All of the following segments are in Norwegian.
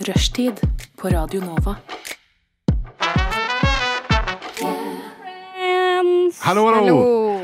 Rushtid på Radio Nova. Friends. Hallo, hallo.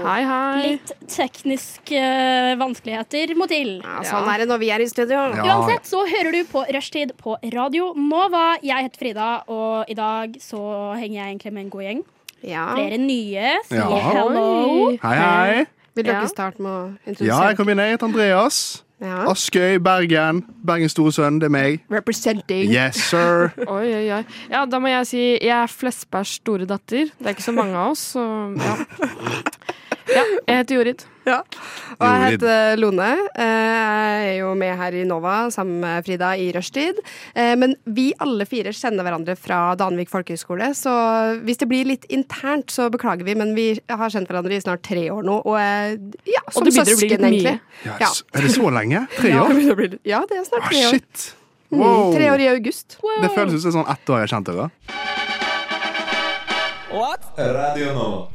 Hei, hei. Litt tekniske eh, vanskeligheter må til. Ja, sånn er det når vi er i studio. Ja. Uansett så hører du på Rushtid på Radio Nova. Jeg heter Frida, og i dag så henger jeg egentlig med en god gjeng. Ja. Flere nye. Sier Ja. hello. Oi. Hei, hei. Vil dere Ja. starte med å Ja, introdusere? jeg kom inn. Jeg heter Andreas. Ja. Askøy, Bergen. Bergens store sønn. Det er meg. Representing. Yes, sir. Oi, oi, oi. Ja, da må jeg si jeg er Flesbergs store datter. Det er ikke så mange av oss, så ja. ja jeg heter Jorid. Og jeg Jorid. heter Lone. Eh, Jeg er jo med her i Nova sammen med Frida i rushtid. Eh, Men vi alle fire kjenner hverandre fra Danvik folkehøgskole, så hvis det blir litt internt, så beklager vi, men vi har kjent hverandre i snart tre år nå, og eh, ja, som det begynner å bli søsken, litt mye. egentlig. Ja, Ja. s- Er det så lenge? Tre Ja, år? det begynner å bli- ja, det er snart Ah, tre år. shit. Wow. Tre år i august. Det føles ut som sånn ett år jeg har kjent dere. Radio Nova.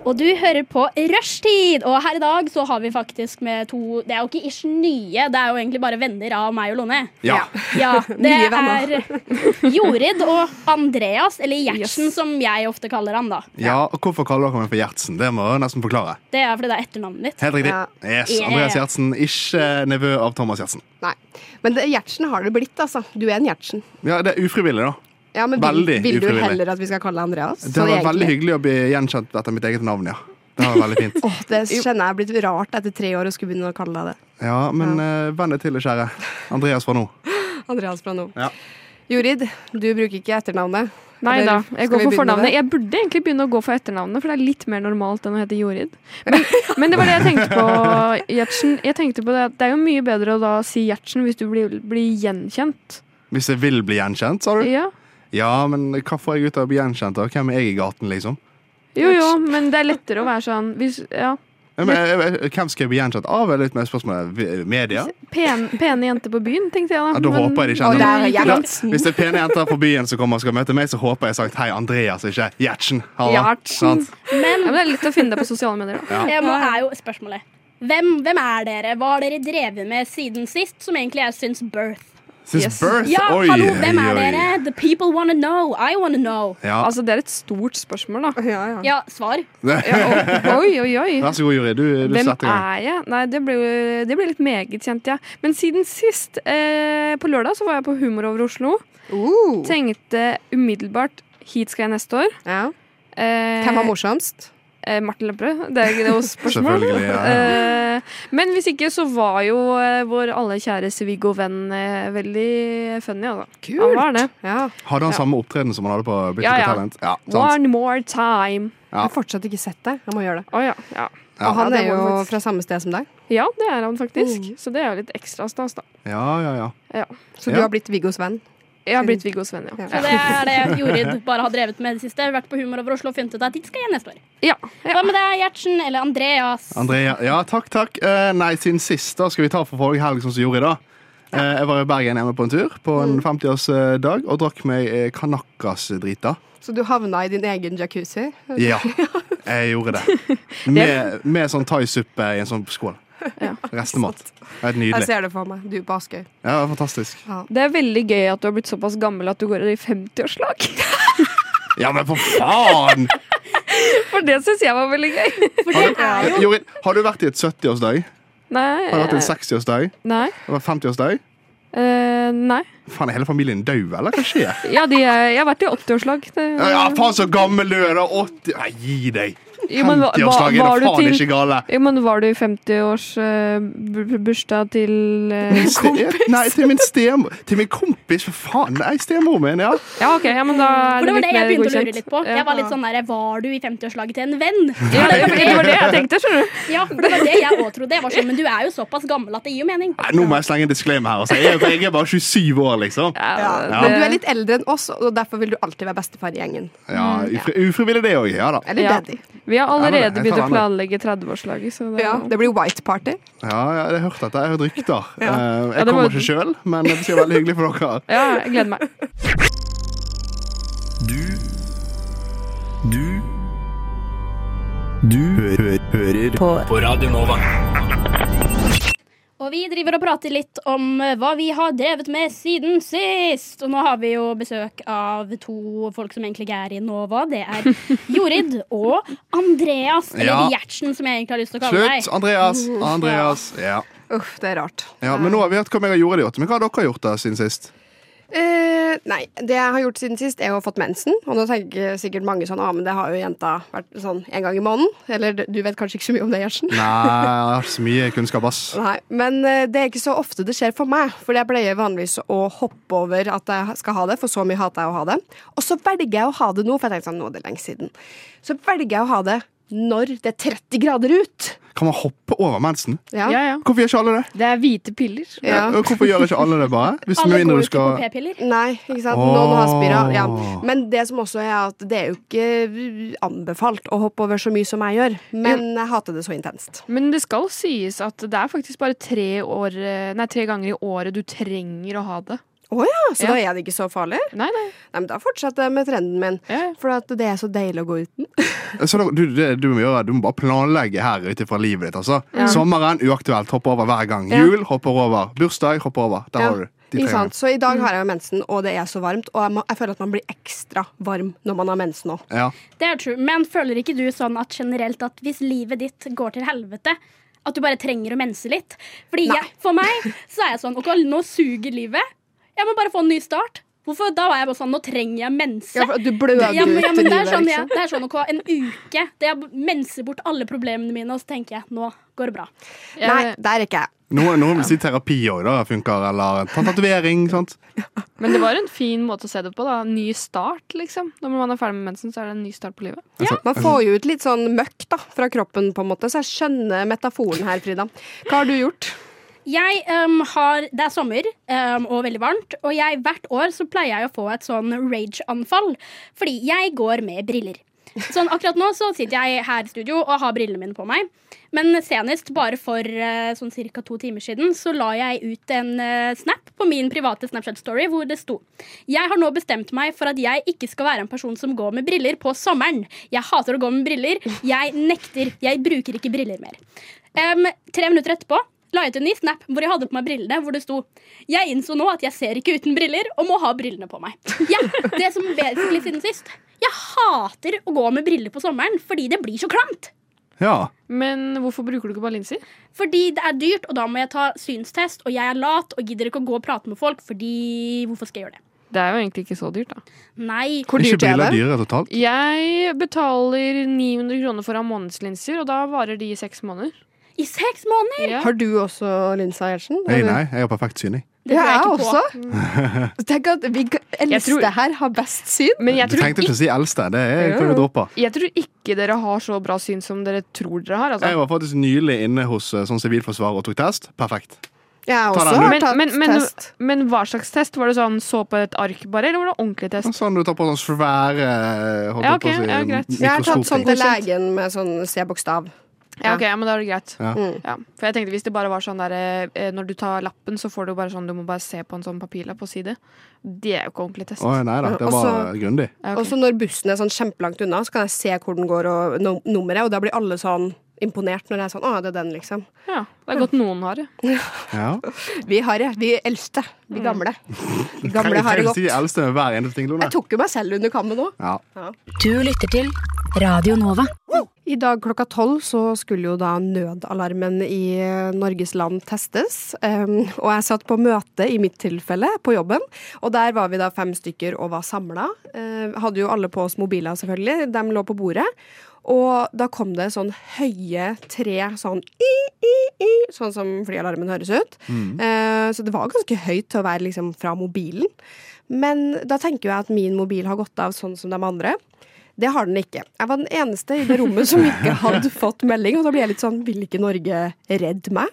Og du hører på Rushtid! Og her i dag så har vi faktisk med to Det er jo ikke ish nye, det er jo egentlig bare venner av meg og Lone. Ja. Ja, det Nye er venner. Jorid og Andreas, eller Gjertsen som jeg ofte kaller han, da. ja. Og hvorfor kaller dere meg for Gjertsen? Det må jeg nesten forklare. Det er fordi det er etternavnet ditt. Helt riktig. Ja. Yes, Yeah. Andreas Gjertsen, ikke nevø av Thomas Gjertsen. Nei. Men det, Gjertsen har det blitt, altså. Du er en Gjertsen. Ja, det er ufrivillig, da. Ja, men vil, Veldig vil du ufrivillig. heller at vi skal kalle deg Andreas? Det Sånn var veldig egentlig. hyggelig å bli gjenkjent etter mitt eget navn, ja. Det var veldig fint. Åh, det kjenner jeg er blitt rart etter tre år å skulle begynne å kalle deg det. Ja, men eh, venn deg til det, kjære. Andreas fra nå. Andreas fra nå. Ja. Jorid, du bruker ikke etternavnet. Nei Eller da, skal jeg går vi begynne for med fornavnet. det? Jeg burde egentlig begynne å gå for etternavnet, for det er litt mer normalt enn å hete Jorid. Men, men det var det jeg tenkte på, Gjertsen. Jeg tenkte på det at det er jo mye bedre å da si Gjertsen hvis du blir, blir gjenkjent. Hvis jeg vil bli gjenkjent, sa du? Ja. Ja, men hva får jeg ut av å bli gjenkjent? da? Hvem er jeg i gaten, liksom? Jo jo, men det er lettere å være sånn hvis, ja. Men, eh, eh, Hvem skal jeg bli gjenkjent av? er litt mer spørsmålet. Vi- Media? Pen, pene jenter på byen, tenkte jeg da. Ja, da Men- håper jeg de Å, kjenner der meg. er Ja, Gjertsen. Hvis det er pene jenter på byen som kommer og skal møte meg, så håper jeg sagt hei, Andreas, ikke Gjertsen. Halla. Gjertsen. Sant? Men Ja, men det er lett å finne det på sosiale medier. da. det må- er jo spørsmålet. Hvem, hvem er dere? Hva har dere drevet med siden sist, som egentlig jeg syns birth? Since Yes. birth? Ja, oi, hallo, hvem oi, er oi. dere? The people wanna know. I wanna know. Ja. Altså, det er et stort spørsmål, da. Ja, ja. Ja, svar. Ja, oi, oi, oi. Vær så god, Juri. Du, du Hvem setter i gang. er jeg? Nei, det ble, jo- det ble litt meget kjent, ja. Men siden sist, eh, på lørdag, så var jeg på Humor over Oslo. Uh, Tenkte umiddelbart hit skal jeg neste år. ja. Eh, Hvem var morsomst? eh, Martin Lepperød. Det er ikke noe spørsmål. Selvfølgelig, ja, Eh, men hvis ikke, så var jo eh, vår alle kjæres Viggo-venn eh, veldig funny, altså. Han var det. Ja. Hadde han samme opptreden som han hadde på British Ja, ja. Talent? Ja, sant. One more time. Jeg har fortsatt ikke sett deg. Jeg må gjøre det. Å ja. ja. Og han Ja, det er må jo du faktisk. fra samme sted som deg, Ja, det er han faktisk. Så det er jo litt ekstra stas, da. Ja, ja, ja. Ja. så Ja. du har blitt Viggos venn. Jeg har blitt Viggo Sven, ja. Ja. Så det er det Jorid bare har drevet med i det siste. Vært på Humor over Oslo og funnet ut at dit skal jeg neste år. ja. Hva ja. med deg, Gjertsen? Eller Andreas? Andrea, ja, takk, takk. Eh, nei, siden sist da skal vi ta for forrige helg, sånn som Juri da. Eh, jeg var i Bergen hjemme på en tur på en 50-årsdag og drakk meg eh, Kanakas-drita. Så du havna i din egen jacuzzi. Ja, jeg gjorde det. Med, med sånn thaisuppe i en sånn skål. Ja. Restemat. Det er Jeg nydelig. ser det for meg. Du på Askøy. Ja, det var fantastisk. Det er veldig gøy at du har blitt såpass gammel at du går i 50-årslag. Ja, men for faen! For det syns jeg var veldig gøy. For det er jo Juri, har du vært i et 70-årsdag? Nei. Har du vært i en eh, 60-årsdag? Nei. Har du vært 50-årsdag? Eh, nei. Faen, er hele familien død, eller? Hva skjer? Ja, de, er- jeg har vært i 80-årslag. Det- Ja, faen, så gammel du er da! 80... Nei, gi deg! Jo, men hva- hva- 50-årsdag var er du da faen til- ikke gale. Jo, men var du i eh, 50-årsbursdag til eh, Ste- Nei, til min stemor. Til min kompis, for faen. Nei, stemoren min, ja. Ja, OK. Ja, men da er For det var det jeg litt mer begynte å lure godkjent. litt på. Ja. Jeg var litt sånn der, Var du i 50-årslaget til en venn? Ja, det, var- det var det jeg tenkte, skjønner du. Ja, for det var det jeg òg trodde. Jeg var sånn, men du er jo såpass gammel at det gir jo mening. Nei, nå må jeg slenge en disclaimer her. Altså. Jeg, er- jeg er bare 27 år, liksom. Ja, Men du er det- litt eldre enn oss, og derfor vil du alltid være bestefar i gjengen. Ja, ufri, ufrivillig det òg. Ja da. Eller Ja. daddy. Vi har Ja, allerede men jeg begynt tar å planlegge 30-årslaget, så det Ja, Mm. det blir white party. Ja, ja, jeg har hørt dette. Jeg har hørt rykter. Ja. Eh, Ja, Jeg det var- kommer ikke sjøl, men det blir veldig hyggelig for dere. Ja, jeg gleder meg. Du Du Du hø hø hører på. på Radio Nova. Og Og vi driver og prater litt om eh, hva vi har drevet med siden sist. Og nå har vi jo besøk av to folk som egentlig ikke er i Nova. Det er Jorid og Andreas. Eller Ja. Gjertsen, som jeg egentlig har lyst til å kalle Slutt! deg. Andreas! Andreas. Ja. Uff, det er rart. ja. Men nå har vi hørt hva jeg har gjort i det åtte. Men hva har dere gjort da siden sist? Eh, nei, det jeg har gjort siden sist, er å ha fått mensen. Og nå tenker sikkert mange sånn, ah, men det har jo jenta vært sånn en gang i måneden. Eller du vet kanskje ikke så mye om det, Gjertsen. Nei, jeg har så mye kunnskap, ass. Nei, men eh, det er ikke så ofte det skjer for meg, for jeg pleier vanligvis å hoppe over at jeg skal ha det, for så mye hater jeg å ha det. Og så velger jeg å ha det nå, for jeg tenkte sånn, nå er det lenge siden. Så velger jeg å ha det når det er 30 grader ut. Kan man hoppe over mensen? Ja. Ja, ja. Hvorfor gjør ikke alle det? Det er hvite piller. Ja. Og Hvorfor gjør ikke alle det, bare? Hvis med Alle går mindre du jo ikke på skal p-piller. Nei, ikke sant. Noen har spiral. Ja. Åh. Men det som også er at det er jo ikke anbefalt å hoppe over så mye som jeg gjør. Men jeg hater det så intenst. Men det skal sies at det er faktisk bare tre, år, eh, nei, tre ganger i året du trenger å ha det. Ja, så Ja. da er det ikke så farlig. Nei, nei. Nei, men da fortsetter jeg med trenden min. Ja. ja. For at det er så deilig å gå uten. Så da- du, det du må gjøre, du må bare planlegge her ut ifra livet ditt. altså. Sommeren uaktuelt. Hoppe over hver gang. Ja. Jul hopper over. Bursdag hopper over. Der Ja, har du de Ikke tre sant? Så i dag har jeg jo mensen, og det er så varmt. Og jeg, må, jeg føler at man blir ekstra varm når man har mensen òg. Ja. Det er true. Men føler ikke du sånn at generelt at hvis livet ditt går til helvete at du bare trenger å mense litt. Fordi Nei. jeg, For meg så er jeg sånn OK, nå suger livet. Jeg må bare få en ny start. Hvorfor? Da var jeg bare sånn Nå trenger jeg mense. Ja, for at du bløder ja, men, ja, men ut det er sånn, ja, liksom. det er sånn ok, en uke. Det jeg menser bort alle problemene mine, og så tenker jeg nå går det bra. Nei, der er ikke jeg. Noen, noen vil si terapi òg funker, eller ta tatovering. sant? Men det var en fin måte å se det på. da Ny start, liksom. Når man er ferdig med mensen, så er det en ny start på livet. Man får jo ut litt sånn møkk da, fra kroppen, på en måte, så jeg skjønner metaforen her, Frida. Hva har du gjort? Jeg ehm, har, Det er sommer ehm, og veldig varmt, og jeg, hvert år så pleier jeg å få et sånn rage-anfall. Fordi jeg går med briller. Sånn Akkurat nå så sitter jeg her i studio og har brillene mine på meg. Men senest, bare for eh, sånn ca. to timer siden, så la jeg ut en eh, snap på min private Snapchat-story hvor det sto Jeg har nå bestemt meg for at jeg ikke skal være en person som går med briller på sommeren. Jeg hater å gå med briller. Jeg nekter. Jeg bruker ikke briller mer. Em, tre minutter etterpå la jeg ut en ny snap hvor jeg hadde på meg brillene, hvor det sto Jeg innså nå at jeg ser ikke uten briller og må ha brillene på meg. Ja, det som basically siden sist. Jeg hater å gå med briller på sommeren fordi det blir så klamt. Ja. Men hvorfor bruker du ikke bare linser? Fordi det er dyrt, og da må jeg ta synstest, og jeg er lat og gidder ikke å gå og prate med folk, fordi hvorfor skal jeg gjøre det? Det er jo egentlig ikke så dyrt, da. Nei. Hvor Ikke dyrt er briller det? dyrere totalt? Jeg betaler 900 kroner for å ha månedslinser, og da varer de i seks måneder. I seks måneder! Ja. Har du også linsa, Gjertsen? Nei, nei, jeg har perfekt syn. jeg. Det tror jeg ikke på. også. Tenk at vi kan- Jeg tror- eldste her har best syn. Men jeg Du tror, trengte ikke ikke, å si eldste. Det er kan du droppe. jeg tror ikke dere har så bra syn som dere tror dere har. Jeg Altså. var faktisk nylig inne hos eh, sånn sivilforsvaret og tok test. Perfekt. Jeg Ta også den. har Men, tatt men, men, test. men hva slags test? Var det sånn så på et ark bare, eller var det ordentlig test? Sånn du tar på sånn svære eh, holdt Ja, jeg på å ok, si, ja, greit. Jeg har tatt sånn mikroskopting. til legen med sånn C-bokstav. Ja, ok, ja, men da er det greit. Ja. Mm. Ja, for jeg tenkte hvis det bare var sånn der eh, Når du tar lappen, så får du bare sånn Du må bare se på en sånn papirlapp og si det. Det er jo ikke ordentlig test. Å, nei da, det var Også- eh, grundig. Ja, ok. Og så når bussen er sånn kjempelangt unna, så kan jeg se hvor den går og no nummeret, og da blir alle sånn imponert når det er sånn Å, det er den, liksom. ja, det er godt noen har det. Ja. Vi har det. Vi eldste. Vi gamle. De gamle Trenger har faktisk det godt. ikke de eldste med hver eneste ting, Lone. Jeg tok jo meg selv under kammen òg. Ja. Du lytter til Radio Nova. I dag klokka tolv så skulle jo da nødalarmen i eh, Norges land testes. Um, og jeg satt på møte, i mitt tilfelle, på jobben. Og der var vi da fem stykker og var samla. Eh, hadde jo alle på oss mobiler, selvfølgelig. De lå på bordet. Og da kom det sånn høye tre sånn i, i, i, sånn som flyalarmen høres ut. Eh, så det var ganske høyt til å være liksom fra mobilen. Men da tenker jeg at min mobil har gått av sånn som de andre. Det har den ikke. Jeg var den eneste i det rommet som ikke hadde fått melding. Og da blir jeg litt sånn, vil ikke Norge redde meg?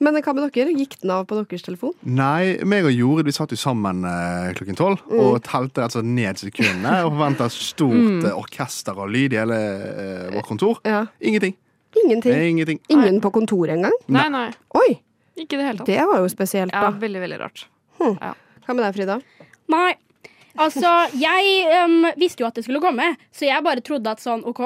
Men hva med dere? Gikk den av på deres telefon? Nei, meg og Jorid vi satt jo sammen eh, klokken tolv Mm. og telte altså ned sekundene og forventa stort eh, orkester og lyd i hele eh, vårt kontor. Mm. Ja. Ingenting. Eh, Ingenting. Ingenting. Ingen på kontoret engang? Nei, nei. Oi, Ikke i det hele tatt. det var jo spesielt, Ja, da. veldig, veldig rart. Hva med deg, Frida? Nei. Altså, jeg øhm, visste jo at det skulle komme, så jeg bare trodde at sånn, OK,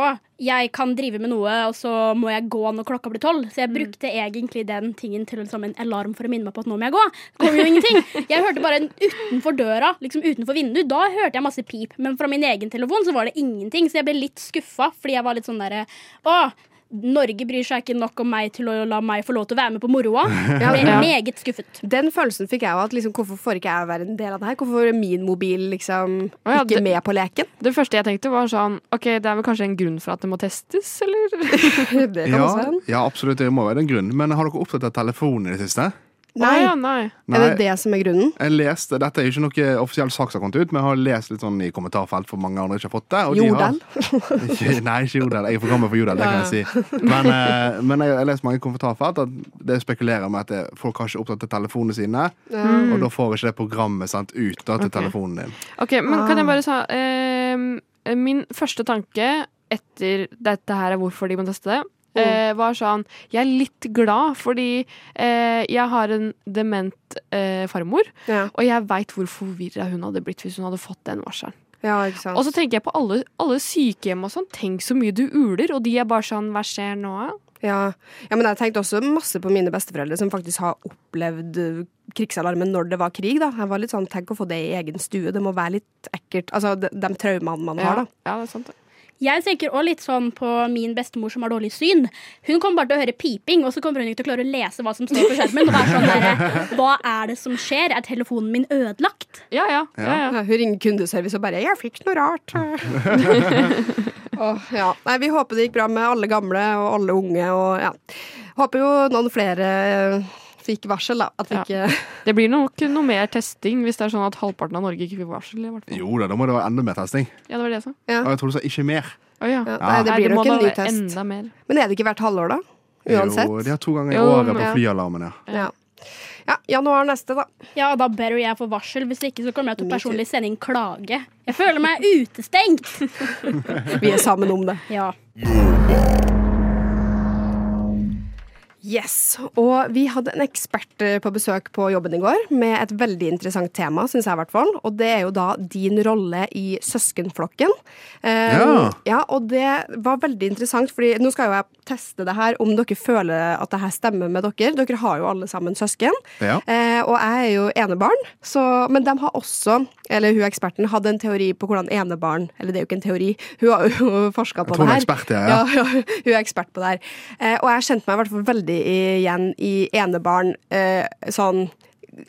jeg kan drive med noe, og så må jeg gå når klokka blir tolv. Så jeg brukte egentlig den tingen til som en alarm for å minne meg på at nå må jeg gå. Det kom jo ingenting. Jeg hørte bare en utenfor døra, liksom utenfor vinduet. Da hørte jeg masse pip, men fra min egen telefon så var det ingenting, så jeg ble litt skuffa, fordi jeg var litt sånn derre Å, Norge bryr seg ikke nok om meg til å la meg få lov til å være med på moroa. Jeg ble Ja. meget skuffet. Den følelsen fikk jeg jo at liksom, hvorfor får ikke jeg være en del av det her? Hvorfor er min mobil liksom Å ja, ikke det- med på leken? Det første jeg tenkte, var sånn OK, det er vel kanskje en grunn for at det må testes, eller? Det kan Ja, også være sånn. en. ja, absolutt. Det må være en grunn. Men har dere oppdatert telefonen i det siste? Nei, Å ja, nei. er det det som er grunnen? Jeg leste, Dette er jo ikke noe offisiell sak som har kommet ut, men jeg har lest litt sånn i kommentarfelt for mange andre ikke har fått det. og de har- Jordal? Ikke- Nei, ikke Jordal. Jeg er for gammel for Jordal, det kan jeg si. Men, eh, men jeg har lest mange kommentarfelt at det spekulerer med at det, folk har ikke oppdatert telefonene sine, Mm. og da får ikke det programmet sendt ut da, til telefonen din. Ok, men kan jeg bare sa eh, Min første tanke etter dette her er hvorfor de må teste det, eh, var sånn Jeg er litt glad fordi eh, jeg har en dement eh, farmor, Ja. og jeg veit hvor forvirra hun hadde blitt hvis hun hadde fått den varselen. ja, ikke sant. Og så tenker jeg på alle, alle sykehjem og sånn. Tenk så mye du uler, og de er bare sånn Hva skjer nå? Ja. ja, men jeg tenkte også masse på mine besteforeldre som faktisk har opplevd eh, krigsalarmen når det var krig. da. Jeg var litt sånn, Tenk å få det i egen stue, det må være litt ekkelt. Altså de, de traumene man Ja, har, da. ja, det er sant. det. Jeg tenker også litt sånn på min bestemor som har dårlig syn. Hun kommer bare til å høre piping, og så kommer hun ikke til å klare å lese hva som står på skjermen. Og være sånn der, Hva er det som skjer? Er telefonen min ødelagt? Ja, ja. ja, ja. Ja, Hun ringer kundeservice og bare 'jeg fikk noe rart'. Åh, ja. Nei, vi håper det gikk bra med alle gamle og alle unge. Og, ja. Håper jo noen flere eh, fikk varsel, da. At vi Ja. ikke Det blir nok noe mer testing hvis det er sånn at halvparten av Norge ikke fikk varsel. i hvert fall. Jo da, da må det være enda mer testing. Ja, det var det jeg sa. Og jeg tror du sa ikke mer. Å, ja. ja, Ah. Nei, det Nei, blir må nok en da ny være test. Enda mer. Men er det ikke hvert halvår, da? Uansett. Jo, de har to ganger i Jo, året på ja. flyalarmen, ja. ja. ja, januar neste, da. Ja, da bør jo jeg få varsel. Hvis ikke så kommer jeg til å Me too. personlig sende inn klage. Jeg føler meg utestengt. Vi er sammen om det. Ja. Yes, og vi hadde en ekspert eh, på besøk på jobben i går med et veldig interessant tema, syns jeg i hvert fall. Og det er jo da din rolle i søskenflokken. Eh, Ja. ja. Og det var veldig interessant, fordi nå skal jo jeg teste det her om dere føler at det her stemmer med dere. Dere har jo alle sammen søsken. Ja. Eh, og jeg er jo enebarn, så, men de har også, eller hun eksperten, hadde en teori på hvordan enebarn Eller det er jo ikke en teori, hun har jo forska på tror hun det er her. ekspert, ja, ja. Ja, ja, hun er ekspert på det her. Eh, og jeg kjente meg i hvert fall veldig igjen i enebarn eh, sånn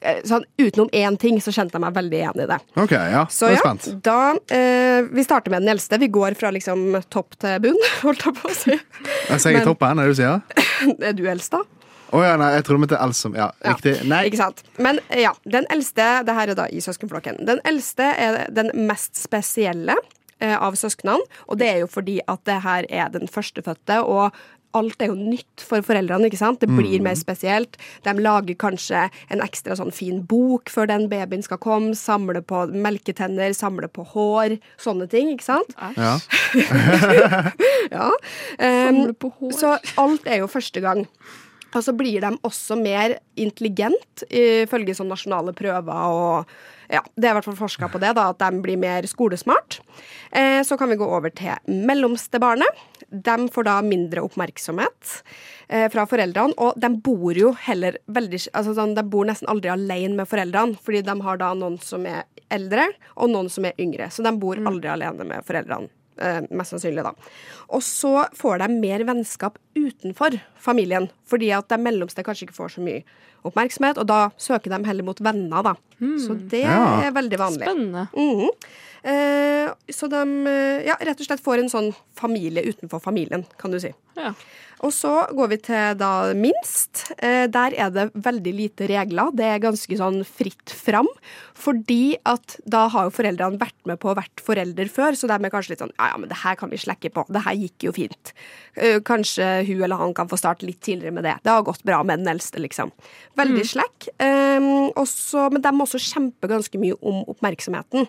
eh, Sånn utenom én ting, så kjente jeg meg veldig igjen i det. OK, ja. Så jeg er ja, spent. da eh, Vi starter med den eldste. Vi går fra liksom topp til bunn, holdt jeg på å si. Jeg ser i Men- toppen, er det du sier? Er du eldst, da? Å ja, nei, jeg trodde det var Elsom. Ja, riktig. Nei. Ikke sant? Men ja, den eldste Det her er da i søskenflokken. Den eldste er den mest spesielle eh, av søsknene, og det er jo fordi at det her er den førstefødte. og Alt er jo nytt for foreldrene. ikke sant? Det blir Mm. mer spesielt. De lager kanskje en ekstra sånn fin bok før den babyen skal komme. Samle på melketenner, samle på hår. Sånne ting, ikke sant? Ja. Ja. Um, Samle på hår. Så alt er jo første gang. Og så blir de også mer intelligent, ifølge sånn nasjonale prøver og ja, Det er i hvert fall forska på det, da, at de blir mer skolesmart. Eh, så kan vi gå over til mellomste barnet. De får da mindre oppmerksomhet eh, fra foreldrene, og de bor jo heller veldig altså sånn, De bor nesten aldri alene med foreldrene, fordi de har da noen som er eldre, og noen som er yngre. Så de bor Mm. aldri alene med foreldrene. Eh, mest sannsynlig, da. Og så får de mer vennskap utenfor familien, fordi at de mellomste kanskje ikke får så mye oppmerksomhet, og da søker de heller mot venner, da. Så det Ja. er veldig vanlig. Spennende. Mhm. Eh, så de eh, ja, rett og slett får en sånn familie utenfor familien, kan du si. Ja. Og så går vi til da minst. Eh, der er det veldig lite regler. Det er ganske sånn fritt fram. Fordi at da har jo foreldrene vært med på hvert forelder før, så de er kanskje litt sånn ja ja, men det her kan vi slekke på. Det her gikk jo fint. Eh, kanskje hun eller han kan få starte litt tidligere med det. Det har gått bra med den eldste, liksom. Veldig slekk. Eh, også, men de må også kjempe ganske mye om oppmerksomheten.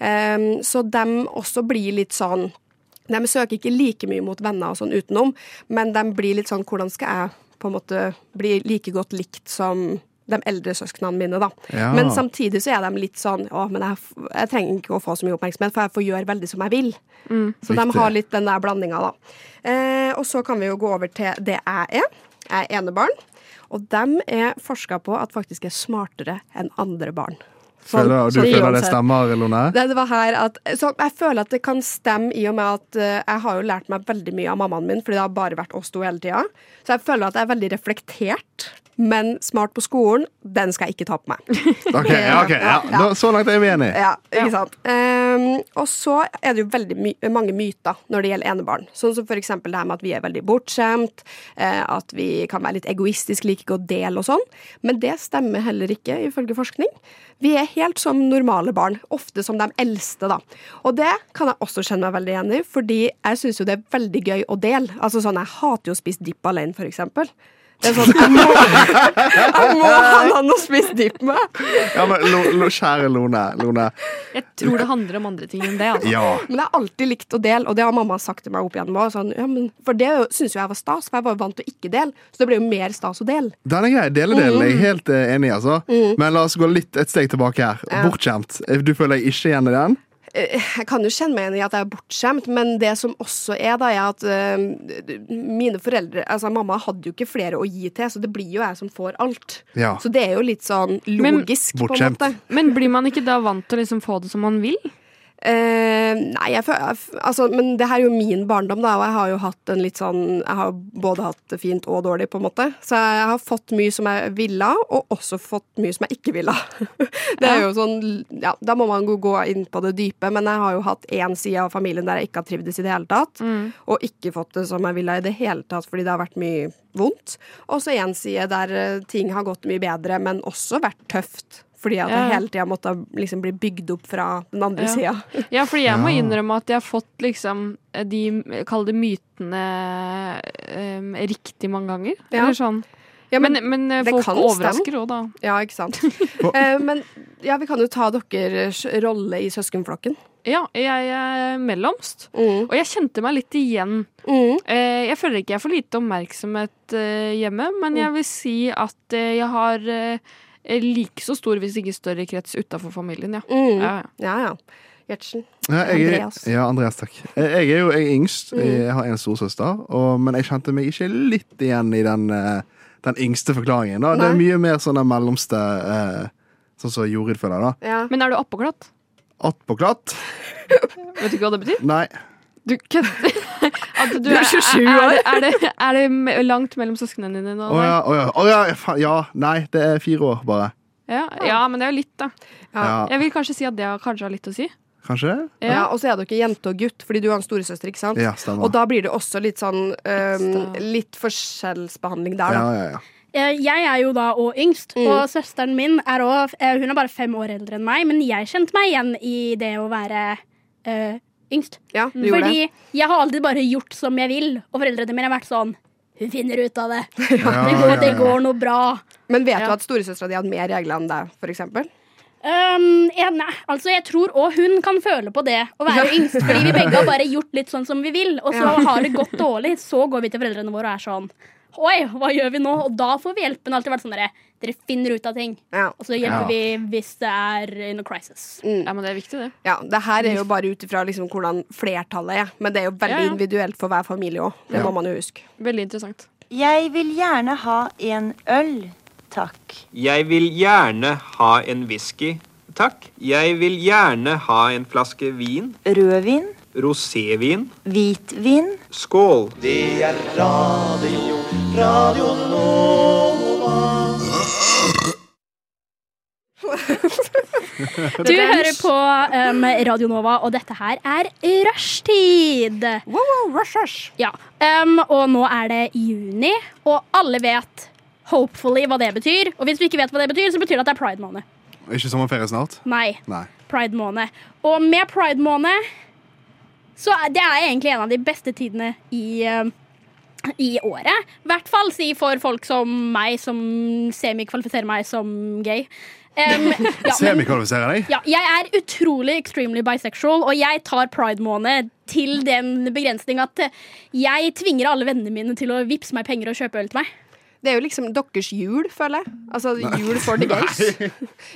Eh, så de også blir litt sånn de søker ikke like mye mot venner og sånn utenom, men de blir litt sånn Hvordan skal jeg på en måte bli like godt likt som de eldre søsknene mine, da. Ja. Men samtidig så er de litt sånn Å, men jeg, f- jeg trenger ikke å få så mye oppmerksomhet, for jeg får gjøre veldig som jeg vil. Så de Riktig. har litt den der blandinga, da. Eh, og så kan vi jo gå over til det jeg er. Jeg er enebarn. Og dem er forska på at faktisk er smartere enn andre barn. Sånn- Føler, du sånn føler det uansett. stemmer, Lone? Det, det var her at, så jeg føler at det kan stemme i og med at eh, jeg har jo lært meg veldig mye av mammaen min, fordi det har bare vært oss to hele tida. Så jeg føler at jeg er veldig reflektert, men smart på skolen, den skal jeg ikke ta på meg. Ok, ja, ok, ja. Da, så langt er vi enige. Ja, ikke sant? Ehm, og så er det jo veldig my mange myter når det gjelder enebarn. Sånn som for eksempel det her med at vi er veldig bortskjemt, eh, at vi kan være litt egoistiske, liker ikke å dele og sånn. Men det stemmer heller ikke, ifølge forskning. Vi er helt som normale barn, ofte som de eldste, da. Og det kan jeg også kjenne meg veldig igjen i, fordi jeg syns jo det er veldig gøy å dele. Altså sånn, jeg hater jo å spise dipp alene, for eksempel. Det er sånn, jeg må, jeg må ha noen å spise dipp med. Ja, men lo, lo, kjære Lone, Lone. Jeg tror det handler om andre ting enn det. Altså. Ja. Men jeg har alltid likt å dele, og det har mamma sagt til meg opp igjennom også, Sånn, ja, men, for det syns jo jeg var stas, for jeg var jo vant til å ikke dele. Så det ble jo mer stas å dele. Den er grei. Deledelen er jeg helt eh, enig i. altså. Men la oss gå litt et steg tilbake her. Bortskjemt. Eh, Du føler deg ikke igjen i den? Eh, Jeg kan jo kjenne meg igjen i at jeg er bortskjemt, men det som også er, da, er at eh, mine foreldre Altså, mamma hadde jo ikke flere å gi til, så det blir jo jeg som får alt. Ja. Så det er jo litt sånn Men- logisk, på en Bortskjemt. måte. Men blir man ikke da vant til å liksom få det som man vil? Eh, nei, jeg føler jeg f- altså, Men det her er jo min barndom, da, og jeg har jo hatt en litt sånn Jeg har jo både hatt det fint og dårlig, på en måte. Så jeg har fått mye som jeg ville, og også fått mye som jeg ikke ville. det er jo sånn Ja, da må man jo gå inn på det dype, men jeg har jo hatt én side av familien der jeg ikke har trivdes i det hele tatt, Mm. og ikke fått det som jeg ville i det hele tatt, fordi det har vært mye vondt. Og så én side der eh, ting har gått mye bedre, men også vært tøft. Fordi at jeg Ja. hele tida måtte liksom bli bygd opp fra den andre Ja. sida. Ja, fordi jeg må Ja. innrømme at jeg har fått liksom de Kall det mytene em, riktig mange ganger. Ja. Eller sånn. Ja, men, men, men, eh, det folk kan overrasker òg, da. ja, ikke sant. Eh, men ja, vi kan jo ta deres rolle i søskenflokken. Ja, jeg er mellomst. Og jeg kjente meg litt igjen. Mm. Eh, Jeg føler ikke jeg får lite oppmerksomhet eh, hjemme, men Mm. jeg vil si at eh, jeg har eh, like så stor, hvis ikke større, krets utafor familien, ja. Mm. ja. ja. Ja, ja. Gjertsen. Ja, jeg, er- Andreas. Ja, Andreas, takk. Jeg jeg er jo jeg er yngst. Jeg har en storsøster. og- Men jeg kjente meg ikke litt igjen i den, eh, den yngste forklaringen. Da. Det er mye mer sånn den mellomste eh, Sånn som Jorid føler da. Ja. Men er du oppåklatt? Attpåklatt? Vet du ikke hva det betyr? Nei. Du kødder! At du, er 27 år. Er, er, det, er, det, er det me- langt mellom søsknene dine nå? Å ja, å ja. Å ja, faen, ja. Nei, det er fire år, bare. Ja, ja, men det er jo litt, da. Ja. Jeg vil kanskje si at det har kanskje har litt å si. Kanskje? Ja. Ja, og så er dere jente og gutt, fordi du har en storesøster, ikke sant? Ja, stemmer. Og da blir det også litt sånn eh, Ekstra. Litt forskjellsbehandling der, da. Ja, ja, ja. Eh, Jeg er jo da òg yngst, Mm. og søsteren min er òg Hun er bare fem år eldre enn meg, men jeg kjente meg igjen i det å være eh, yngst. Ja, du gjorde Fordi jeg har alltid bare gjort som jeg vil, og foreldrene mine har vært sånn Hun finner ut av det. Ja, Det går, ja, det ja. går noe bra. det. Men vet Ja. du at storesøstera di hadde mer regler enn deg, for eksempel? Um, ja, nei, altså Jeg tror òg hun kan føle på det å være yngst, fordi vi begge har bare gjort litt sånn som vi vil, og så Ja. har det gått dårlig. Så går vi til foreldrene våre og er sånn Oi, hva gjør vi nå? Og da får vi hjelp. Men det har alltid vært sånn derre Dere finner ut av ting. Ja. Og så hjelper Ja. vi hvis det er in a crisis. Ja, men det er viktig, det. ja. Det her er jo bare ut ifra liksom, hvordan flertallet er, men det er jo veldig Ja, ja. individuelt for hver familie òg. Det må man jo huske. Veldig interessant. Jeg vil gjerne ha en øl, takk. Jeg vil gjerne ha en whisky, takk. Jeg vil gjerne ha en flaske vin. Rødvin, Rosévin. hvitvin, Skål. Du hører på um, Radio Nova, og dette her er rushtid. Ja, um, og nå er det juni, og alle vet hopefully hva det betyr. Og hvis du ikke vet hva det betyr, så betyr det at det er pride måned. Ikke sommerferie snart? Nei, Nei. pride måned. Og med pride måned så er- det er egentlig en av de beste tidene i um, i året. I hvert fall si for folk som meg, som semikvalifiserer meg som gay. Um, ja, men- Semikvalifisere deg? ja, jeg er utrolig extremely bisexual, og jeg tar pride-måned til eh, den begrensning at jeg tvinger alle vennene mine til å vippse meg penger og kjøpe øl til meg. Det er jo liksom deres jul, føler jeg. Altså jul for the gays.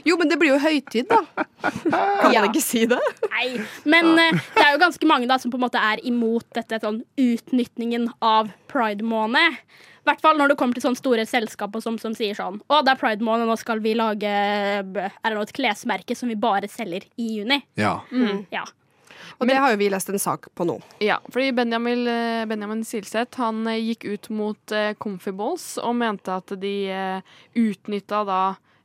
Jo, men det blir jo høytid, da. Kan man ikke si det? Nei. Men eh, det er jo ganske mange da som på en måte er imot dette sånn utnytningen av pride-måned. I hvert fall når det kommer til sånne store selskaper som, som sier sånn Å, det er pride-måned, nå skal vi lage eh, er det noe, et klesmerke som vi bare selger i juni. Ja. Ja. Og det har jo vi lest en sak på nå. Ja, fordi Benjamin, eh, Benjamin Silseth han eh, gikk ut mot eh, Comfy Balls og mente at de eh, utnytta da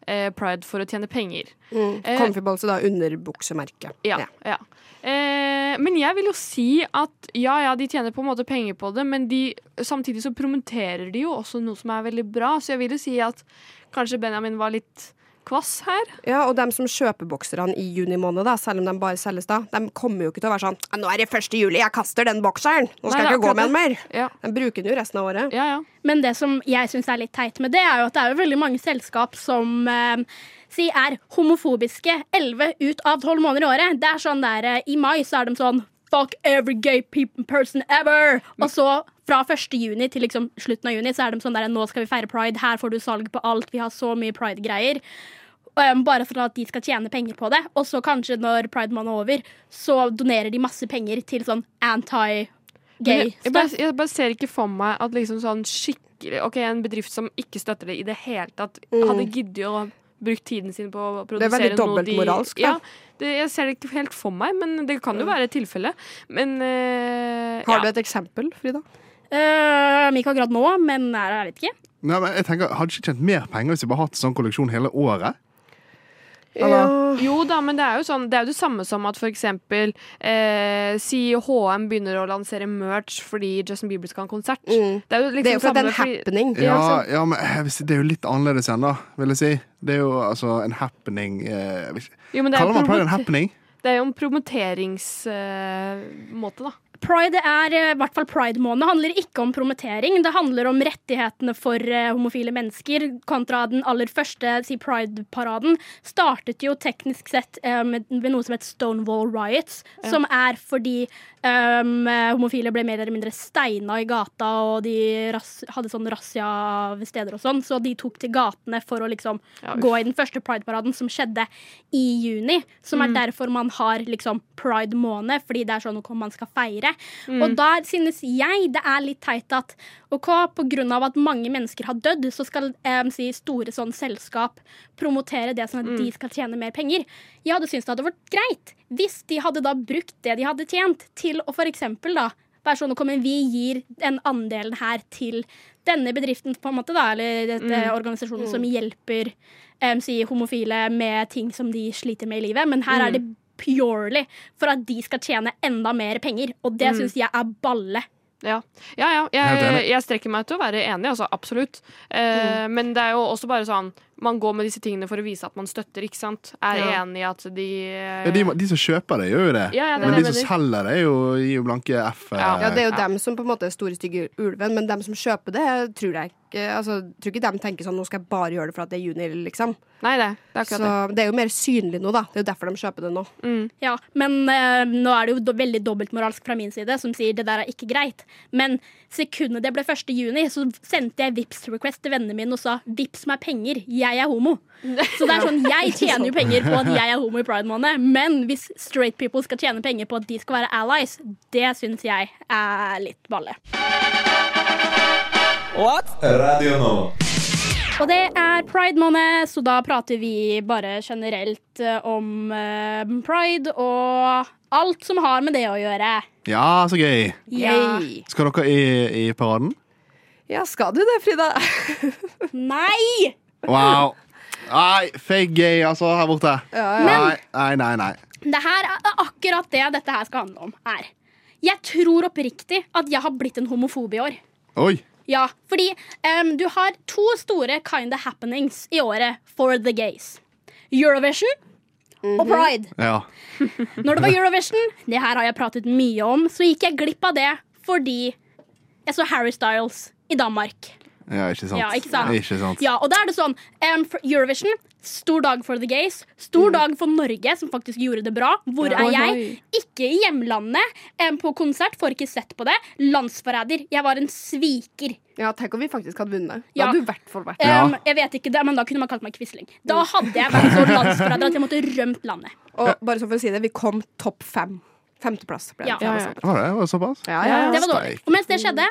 eh, Pride for å tjene penger. Eh, Comfyballs er da underbuksemerket. Ja, Ja. ja. Eh, men jeg vil jo si at ja, ja, de tjener på en måte penger på det, men de, samtidig så promoterer de jo også noe som er veldig bra, så jeg vil jo si at kanskje Benjamin var litt kvass her. Ja, og dem som kjøper bokserne i juni måned, da, selv om de bare selges da, de kommer jo ikke til å være sånn «Ja, 'Nå er det 1. juli, jeg kaster den bokseren! Nå skal Nei, jeg det er ikke gå med den akkurat mer!' Ja, De bruker den jo resten av året. ja. ja. Men det som jeg syns er litt teit med det, er jo at det er jo veldig mange selskap som eh, si er homofobiske 11 ut av 12 måneder i året. Det er sånn der, eh, I mai så er de sånn Fuck every gay pe- person ever! Og så fra 1. juni til liksom slutten av juni så er de sånn der Nå skal vi feire pride, her får du salg på alt, vi har så mye pride-greier. Um, bare for at de skal tjene penger på det. Og så kanskje når pride måned er over, så donerer de masse penger til sånn Men anti-gay jeg, jeg, bare, jeg bare ser ikke for meg at liksom sånn skikkelig Ok, en bedrift som ikke støtter det i det hele tatt, hadde giddet å brukt tiden sin på Mm. er veldig å produsere noe de dobbeltmoralsk, da. Mm. Ja, det, jeg ser det ikke helt for meg, men det kan jo være et tilfelle. Men eh, Har du ja. et eksempel, Frida? Uh, ikke akkurat nå, men nei, jeg vet ikke. Nei, men jeg tenker, Hadde ikke tjent mer penger hvis jeg bare hatt sånn kolleksjon hele året. Eller- Jo da, men det er jo sånn Det er jo det samme som at for eksempel eh, Si HM begynner å lansere merch fordi Justin Bieber skal ha en konsert. Det er jo Mm. Det er jo liksom for at det er samme en fordi- happening. Ja, Ja, sant. ja men jeg vil si, Det er jo litt annerledes igjen, da, vil jeg si. Det er jo altså en happening eh, jeg vil ikke- Jo, men det er Kaller man pride en promoter- happening? Det er jo en promoteringsmåte, da. Pride er, eh, i hvert fall pride-måned handler ikke om promotering. Det handler om rettighetene for eh, homofile mennesker kontra den aller første si, pride-paraden. Startet jo teknisk sett eh, med, med noe som het Stonewall Riots, som er fordi em, eh, homofile ble mer eller mindre steina i gata, og de ras hadde sånn razzia ved steder og sånn, så de tok til gatene for å liksom Ja, uff. gå i den første Pride-paraden som skjedde i juni. Som er derfor man har liksom Pride-måned, fordi det er sånn noe man skal feire. Og der synes jeg det er litt teit at OK, på grunn av at mange mennesker har dødd, så skal em, si, store sånn selskap promotere det sånn at de skal tjene mer penger. Jeg hadde syntes det hadde vært greit hvis de hadde da brukt det de hadde tjent, til å for eksempel da være sånn, «Kom igjen, Vi gir den andelen her til denne bedriften, på en måte da, eller dette organisasjonen som hjelper em, si, homofile med ting som de sliter med i livet. Men her er det purely for at de skal tjene enda mer penger, og det synes syns jeg er balle. Ja, ja. ja. Helt Jeg, enig. jeg strekker meg til å være enig, altså. Absolutt. Eh, Mm. Men det er jo også bare sånn Man går med disse tingene for å vise at man støtter, ikke sant? Er Ja. enig i at de eh, Ja, de, de som kjøper det, gjør jo det. Ja, ja, det er men de det jeg som selger det, er jo, gir jo blanke F. eh, Ja. Ja, det er jo dem som på en måte er store, stygge ulven, men dem som kjøper det, tror jeg ikke altså, tror ikke dem tenker sånn 'Nå skal jeg bare gjøre det for at det er juni', liksom. Nei, det, det er akkurat det. Så det Mm. er jo mer synlig nå, da. Det er jo derfor de kjøper det nå. Ja, men eh, nå er det jo do veldig dobbeltmoralsk fra min side, som sier det der er ikke greit. Men sekundet det ble 1. juni, så sendte jeg vips request til vennene mine og sa 'vips meg penger, jeg er homo'. Så det er sånn, jeg tjener jo penger på at jeg er homo i pride måned, men hvis straight people skal tjene penger på at de skal være allies, det syns jeg er litt balle. Radio Nova. Og det er pride måned, så da prater vi bare generelt eh, om eh, pride og alt som har med det å gjøre. ja, så gøy! Ja. Skal dere i, i paraden? Ja, skal du det, Frida? Nei! Wow! Nei, fake gay, altså, her borte. Nei, nei, nei. nei. Det her er akkurat det dette her skal handle om. er. Jeg tror oppriktig at jeg har blitt en homofob i år. Oi! Ja, fordi em, du har to store kinda happenings i året for the gays. Eurovision og pride. Ja. Når det var Eurovision, det her har jeg pratet mye om, så gikk jeg glipp av det fordi jeg så Harry Styles i Danmark. Ja, ikke sant. Ja, ikke sant? Ikke sant. Ja, og da er det sånn em, for Eurovision, stor dag for the gays. Stor dag for Norge, som faktisk gjorde det bra. Hvor Mm. Ja. er jeg? Oi. Ikke i hjemlandet. em, på konsert, får ikke sett på det. Landsforræder. Jeg var en sviker. Ja, tenk om vi faktisk hadde vunnet. Da Ja. hadde du i hvert fall vært Ja. Em, Jeg vet ikke det, men da kunne man kalt meg Quisling. Da hadde jeg vært så landsforræder at jeg måtte rømt landet. Og bare sånn for å si det, vi kom topp fem. Femteplass ble det. Ja. Ja, ja. Var det, var det såpass? Ja, ja, ja. Det var dårlig. Steik. Og mens det skjedde,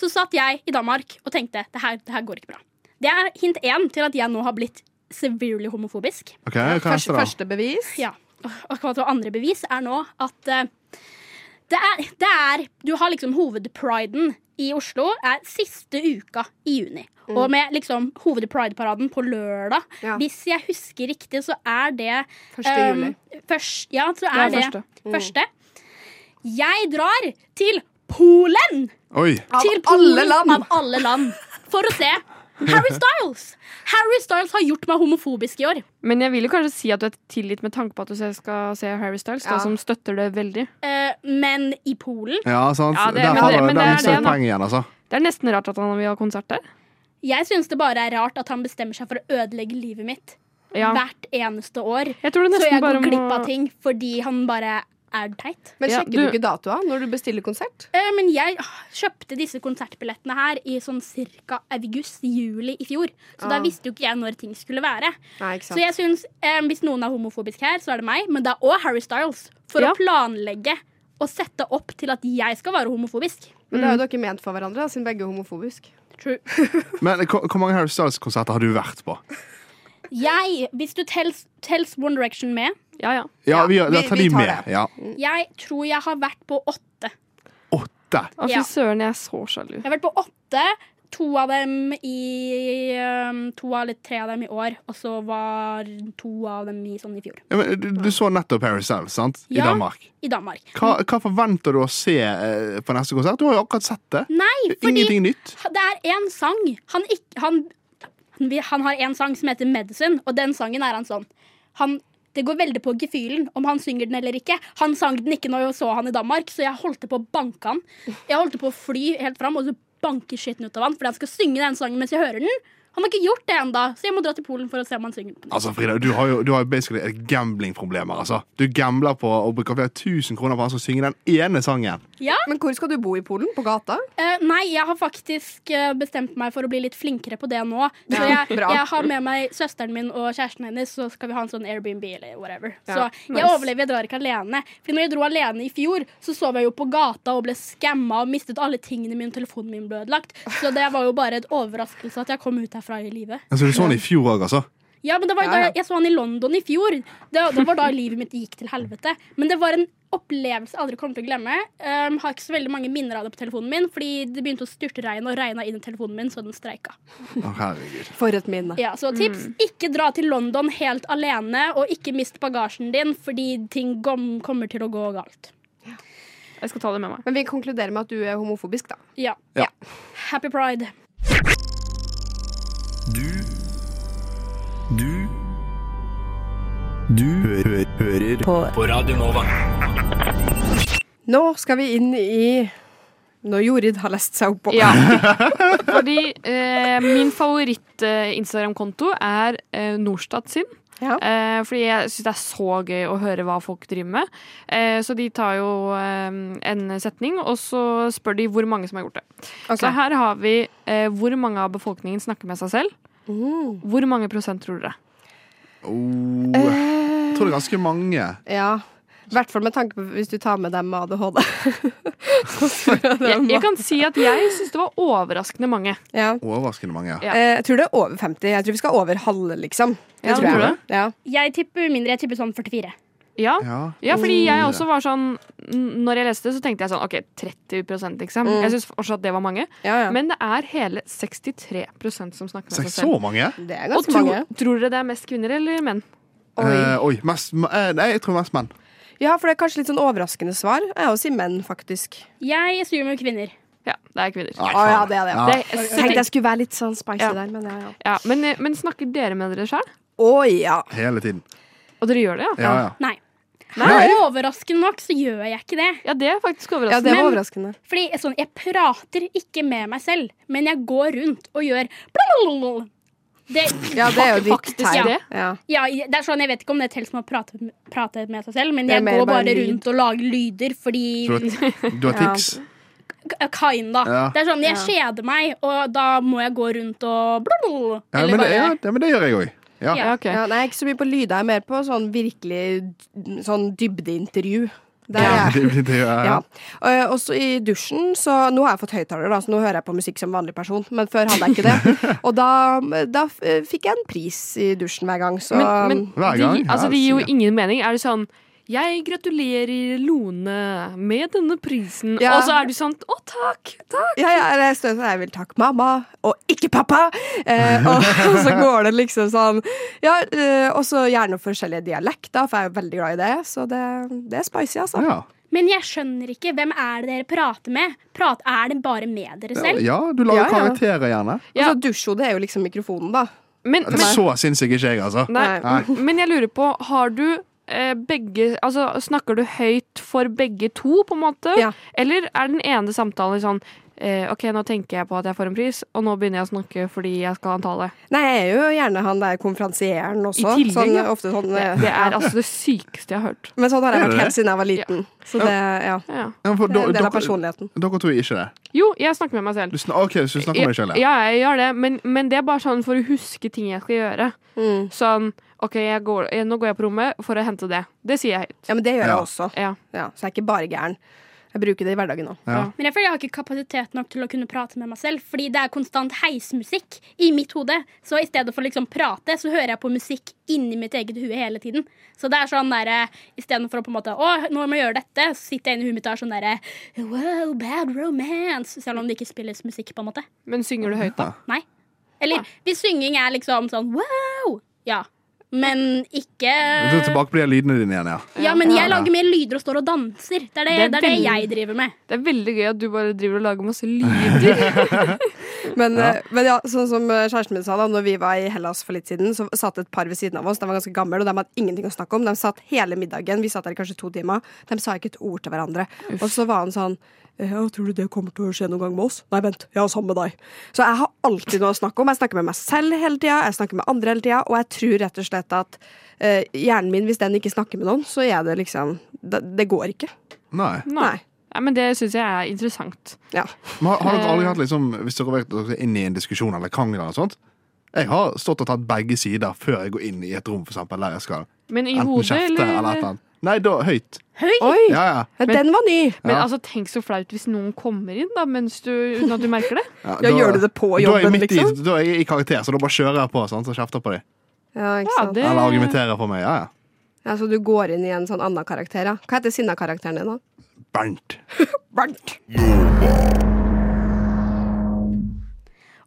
så satt jeg i Danmark og tenkte det her, det her går ikke bra. Det er hint én til at jeg nå har blitt severely homofobisk. Ok, hva er Første, neste da? første bevis. Ja. Og akkurat det andre bevis er nå at eh, det, er, det er Du har liksom hovedpriden i Oslo er siste uka i juni. Og med liksom hovedprideparaden på lørdag. Mm. Ja. Hvis jeg husker riktig, så er det Første um, juli. først- ja, så er er det, første. første. Jeg drar til Polen! Oi. til Av alle land! Av alle land. For å se Harry Styles! Harry Styles har gjort meg homofobisk i år. Men jeg vil jo kanskje si at du er tilgitt med tanke på at du skal se Harry Styles, Ja. da, som støtter det veldig. Eh, men i Polen Ja, sant. Ja, det- der men har det- du men der det er mistet det, et da. poeng igjen, altså. Det er nesten rart at han vil ha konsert der. Jeg syns det bare er rart at han bestemmer seg for å ødelegge livet mitt Ja. hvert eneste år. Jeg tror det Så nesten jeg bare går må glipp av ting fordi han bare er teit. Men Ja, sjekker du du- ikke datoa når du bestiller konsert? Eh, Men jeg ah, kjøpte disse konsertbillettene her i sånn ca. august-juli i fjor. Så da Ah. visste jo ikke jeg når ting skulle være. Nei, ikke Så jeg synes, eh, Hvis noen er homofobisk her, så er det meg, men det er òg Harry Styles. For Ja. å planlegge og sette opp til at jeg skal være homofobisk. Men det er jo dere ment for hverandre, da, siden begge er homofobiske. Men hvor hvor mange Harry Styles-konserter har du vært på? Jeg, Hvis du tels, tels One Direction med Ja, ja. Ja, Ja, vi, gjør- vi- da tar vi de tar med. det. Ja. Jeg tror jeg har vært på åtte. Åtte. Å, fy Ja. søren, jeg er så sjalu. Jeg har vært på åtte. To av dem i um, To eller tre av dem i år, og så var to av dem i, sånn i fjor. Ja, men du, du så nettopp Harry Styles, sant? I Ja. Danmark. I Danmark. Hva, hva forventer du å se eh, på neste konsert? Du har jo akkurat sett det. Nei, fordi Ingenting nytt. det er én sang. Han, ikk- han, han, vi- han har en sang som heter 'Medicine', og den sangen er han sånn. Han, det går veldig på gefühlen om han synger den eller ikke. Han sang den ikke når jeg så han i Danmark, så jeg holdt på å banke han. Jeg holdt på å fly helt fram og så banke skitten ut av han fordi han skal synge den sangen mens jeg hører den. Han har ikke gjort det ennå, så jeg må dra til Polen for å se om han synger den. på nytt. Altså, Frida, du har jo, du har jo basically et gamblingproblem her, altså. Du gambler på å bruke flere tusen kroner på han som synger den ene sangen. Ja, Men hvor skal du bo i Polen? På gata? Eh, nei, jeg har faktisk eh, bestemt meg for å bli litt flinkere på det nå. Så Ja, jeg, bra. jeg har med meg søsteren min og kjæresten hennes, så skal vi ha en sånn Airbnb eller whatever. så Ja, jeg overlever, jeg drar ikke alene. Fordi når jeg dro alene i fjor, så sov jeg jo på gata og ble skamma og mistet alle tingene mine, og telefonen min ble ødelagt. Så det var jo bare en overraskelse at jeg kom ut herfra i livet. Altså, du så den i fjor òg, altså. Ja, men det var jo Ja, ja. da jeg, jeg så han i London i fjor. Det, det var da livet mitt gikk til helvete. Men det var en opplevelse jeg aldri kommer til å glemme. Um, har ikke så veldig mange minner av det på telefonen min, fordi det begynte å styrtregne og regna inn i telefonen min, så den streika. Å, herregud. For et minne. Ja, så tips ikke dra til London helt alene, og ikke mist bagasjen din, fordi ting gom, kommer til å gå galt. Jeg skal ta det med meg. Men vi konkluderer med at du er homofobisk, da. Ja. Ja. Happy pride. Du Du Du hø hø hører på. på Radio Nova. Nå skal vi inn i Når Jorid har lest seg opp på. Ja. Fordi eh, min favoritt-Instagram-konto er eh, Norstat sin. Ja. Eh, fordi jeg syns det er så gøy å høre hva folk driver med. Eh, så de tar jo eh, en setning, og så spør de hvor mange som har gjort det. Ok. Så her har vi eh, hvor mange av befolkningen snakker med seg selv. Oh. Hvor mange prosent tror dere? Oh, Eh. jeg tror det er ganske mange. Ja. I hvert fall med tanke på hvis du tar med dem med ADHD. Så tror jeg det er Jeg, jeg ma- kan si at jeg syns det var overraskende mange. ja. Overraskende mange. Ja. Eh, Jeg tror det er over 50. Jeg tror vi skal over halve, liksom. Det Ja, tror tror jeg. du Ja. Jeg tipper mindre. Jeg tipper sånn 44. Ja. Ja. Ja, fordi jeg Oh. også var sånn n- Når jeg leste det, så tenkte jeg sånn OK, 30 liksom. Mm. Jeg syns fortsatt det var mange. Ja, ja. Men det er hele 63 som snakker med seg Så selv. mange? det er Og ganske tro, mange. tror dere det er mest kvinner eller menn? Oi. Eh, oi mest, eh, nei, jeg tror mest menn. Ja, for det er kanskje litt sånn overraskende svar. Jeg er også i menn, faktisk. Jeg assumer kvinner. Ja, det er kvinner. Nei, Å ja, faen. det er det. Det, Jeg tenkte jeg skulle være litt sånn spicy Ja. der, men ja, ja. ja, men, men snakker dere med dere sjøl? Å ja. Hele tiden. Og dere gjør det, ja? Ja, ja. Nei. Nei. Overraskende nok så gjør jeg ikke det. Ja, det er faktisk Ja, det overraskende. var Men- overraskende. Fordi jeg- sånn, jeg prater ikke med meg selv, men jeg går rundt og gjør blablabla. det, Ja, det er jo ditt Faktisk, tegn. ja. Ja. ja, det er sånn, Jeg vet ikke om det teller som å prate, prate med seg selv, men Det er jeg mer går bare bare lyd. rundt og lager lyder fordi Du har, du har tics. K- Kinda. Ja. Det er sånn, Jeg Ja. kjeder meg, og da må jeg gå rundt og blablabla. Ja, Eller men det, ja, bare- ja, men det gjør jeg òg. Ja. Ja, ok. Ja, nei, jeg er ikke så mye på lyder, jeg er mer på sånn virkelig d- sånn dybdeintervju. Der Ja, er jeg. det, det, det, ja, Ja. ja. Eh, Også i dusjen, så nå har jeg fått høyttaler, da, så nå hører jeg på musikk som vanlig person, men før hadde jeg ikke det. Og da, da f- eh, fikk jeg en pris i dusjen hver gang, så Men, men Hver det, gang, gi- altså, ja, det gir jo sier. ingen mening. Er det sånn jeg gratulerer Lone med denne prisen. Ja. Og så er du sånn Å, takk! takk. Ja, ja, det står sånn Jeg vil takke mamma, og ikke pappa! Eh, og, og så går det liksom sånn Ja, eh, og så gjerne forskjellige dialekter, for jeg er jo veldig glad i det. Så det, det er spicy, altså. Ja. Men jeg skjønner ikke. Hvem er det dere prater med? Prat, er det bare med dere selv? ja, du lager Ja, ja. karakterer, gjerne. Og så dusjhodet er jo liksom mikrofonen, da. Men, Det er men, så sinnssyk ikke jeg, altså. nei, Nei. men jeg lurer på, har du eh, begge Altså, snakker du høyt for begge to, på en måte? Ja. Eller er den ene samtalen sånn eh, OK, nå tenker jeg på at jeg får en pris, og nå begynner jeg å snakke fordi jeg skal ha en tale. Nei, jeg er jo gjerne han der konferansieren også. I tillegg, sånn, ja. ofte sånn Det, eh, det er ja. altså det sykeste jeg har hørt. Men sånn har Er jeg det vært helt det? siden jeg var liten. Så det, ja. Ja. Ja, for det er en del av dere, personligheten. dere to gjør ikke det. Jo, jeg snakker med meg selv. Du sn ok, så du snakker om deg sjøl, ja. Ja, jeg gjør det, men, men det er bare sånn for å huske ting jeg skal gjøre. Mm. Sånn OK, jeg går, jeg, nå går jeg på rommet for å hente det. Det sier jeg høyt. Ja, men det gjør Ja. jeg også. Ja. Ja, så jeg er ikke bare gæren. Jeg bruker det i hverdagen òg. ja. Men jeg føler jeg har ikke kapasitet nok til å kunne prate med meg selv, fordi det er konstant heismusikk i mitt hode. Så i stedet for liksom prate, så hører jeg på musikk inni mitt eget hue hele tiden. Så det er sånn derre Istedenfor å på en måte Å, nå må jeg gjøre dette, så sitter jeg inni huet mitt og er sånn derre Wow, bad romance. Selv om det ikke spilles musikk, på en måte. Men synger du høyt, da? Nei. Eller hvis synging er liksom sånn wow, ja. Men ikke Så tilbake blir lydene dine igjen, ja. Ja, men jeg lager mer lyder og står og danser. Det er det, Det er det, er det veldig- jeg driver med. Det er veldig gøy at du bare driver og lager masse lyder. Men, eh, men ja, sånn som eh, kjæresten min sa da Når vi var i Hellas for litt siden Så satt et par ved siden av oss De var ganske gamle Og de hadde ingenting å snakke om De satt hele middagen Vi satt der i kanskje to timer De sa ikke et ord til hverandre Og så var han sånn ja, tror du det kommer til å skje noen gang med oss? Nei, vent, jeg har sammen med deg Så jeg har alltid noe å snakke om Jeg snakker med meg selv hele tiden Jeg snakker med andre hele tiden Og jeg tror rett og slett at eh, Hjernen min, hvis den ikke snakker med noen Så er det liksom Det, det går ikke Nei. Nei. Nei, men det syns jeg er interessant. Ja Men har, har dere aldri hatt liksom, hvis dere har vært dere er inne i en diskusjon eller krangel eller sånt? Jeg har stått og tatt begge sider før jeg går inn i et rom, for eksempel, der jeg skal Men i enten hodet, kjefte eller et eller eller? annet. Nei, da høyt. Oi, Ja, ja. ja, den var ny Men Ja. altså, tenk så flaut hvis noen kommer inn da, mens du, uten at du merker det. Ja, Ja, gjør du det på da er jeg jobben, midt liksom? I, da er jeg i karakter, så da bare kjører jeg på sant, og kjefter på dem. Ja, ikke Ja, sant? det Eller argumenterer for meg. Ja, ja. Ja, Så du går inn i en sånn annen karakter, ja. Hva heter sinna-karakteren din, da? Bernt. Bernt.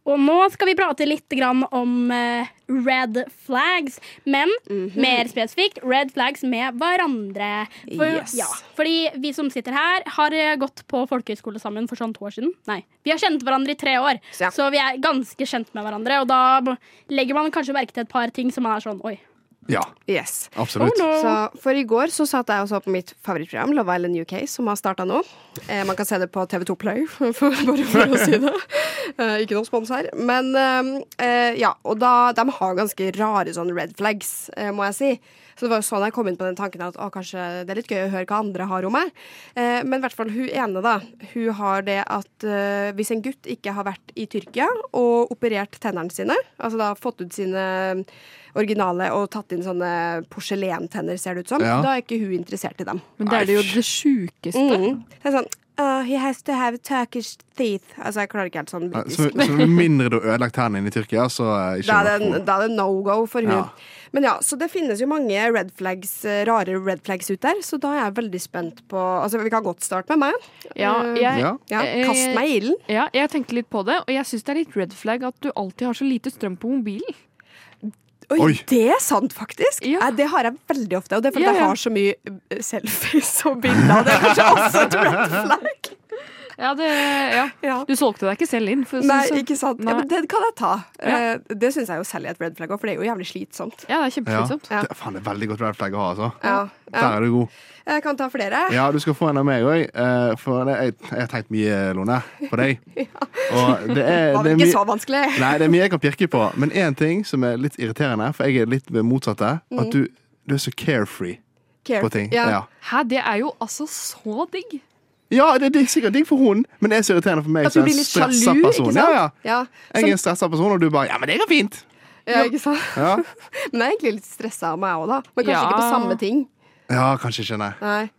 Og nå skal vi prate litt grann om eh, red flags, men Mhm. mer spesifikt red flags med hverandre. For, Yes. ja, fordi vi som sitter her, har eh, gått på folkehøyskole sammen for sånn to år siden. Nei, vi har kjent hverandre i tre år, Ja. så vi er ganske kjent med hverandre. Og da b- legger man kanskje merke til et par ting som man er sånn oi. Ja, Yes. Oh absolutt. no. Så for i går så satt jeg og så på mitt favorittprogram, Love Island UK, som har starta nå. Eh, man kan se det på TV2 Play, for, bare for å si det. Eh, ikke noe spons her. Men eh, eh, ja, og da De har ganske rare sånn red flags, eh, må jeg si. Så det var jo sånn jeg kom inn på den tanken at å, kanskje det er litt gøy å høre hva andre har om meg. Eh, men i hvert fall hun ene, da. Hun har det at eh, hvis en gutt ikke har vært i Tyrkia og operert tennene sine, altså da fått ut sine originale og tatt inn sånne porselentenner, ser det ut som, Ja. da er ikke hun interessert i dem. Men det er det jo det sjukeste. Mm. Det er sånn «Ah, He has to have Turkish teeth. Altså, jeg klarer ikke helt sånn Ja, Så, britisk. så med mindre du har ødelagt tennene inne i Tyrkia, så eh, ikke Da er det, noe. da er det no go for hun. Ja. Men ja, så det finnes jo mange red flags, eh, rare red flags ut der, så da er jeg veldig spent på Altså, vi kan godt starte med meg. Ja, Eh, jeg, Ja. ja, kast meg i ilden. Ja, jeg tenkte litt på det, og jeg syns det er litt red flag at du alltid har så lite strøm på mobilen. Oi, Oi. det er sant, faktisk! Ja. Nei, det har jeg veldig ofte. Og det er fordi Ja, ja. jeg har så mye eh, selfies og bilder. og Det er kanskje også et red flag. Ja, det, ja. Ja. Du solgte deg ikke selv inn. For, å si Nei, det sånn. ikke sant. Ja, Nei. men det kan jeg ta. Ja. Eh, Det syns jeg jo selv er et red flag òg, for det er jo jævlig slitsomt. ja, det er Ja. kjempeslitsomt. Ja. Det, faen, det er veldig godt red flag å ha, altså. Ja. Der er du god. Jeg kan ta flere. Ja, du skal få en av meg òg. For det, jeg, jeg har tenkt mye, Lone, på deg. Og det er, det Var vel er ikke mye så vanskelig. Nei, det er mye jeg kan pirke på. Men én ting som er litt irriterende, for jeg er litt ved motsatte, at du, du er så carefree på ting. Mm. Ja. Ja. Hæ, det er jo altså så digg. Ja, det er digg- sikkert digg for hun, men det er så irriterende for meg At som Altså, du en blir litt sjalu, stressa person. ikke sant? Ja, ja. Ja. Jeg er en stressa person, og du bare 'ja, men det går fint'. ja, ikke sant? Ja, Men jeg er egentlig litt stressa av meg òg, da. Men kanskje Ja. ikke på samme ting. ja kanskje ikke, nei. Nei.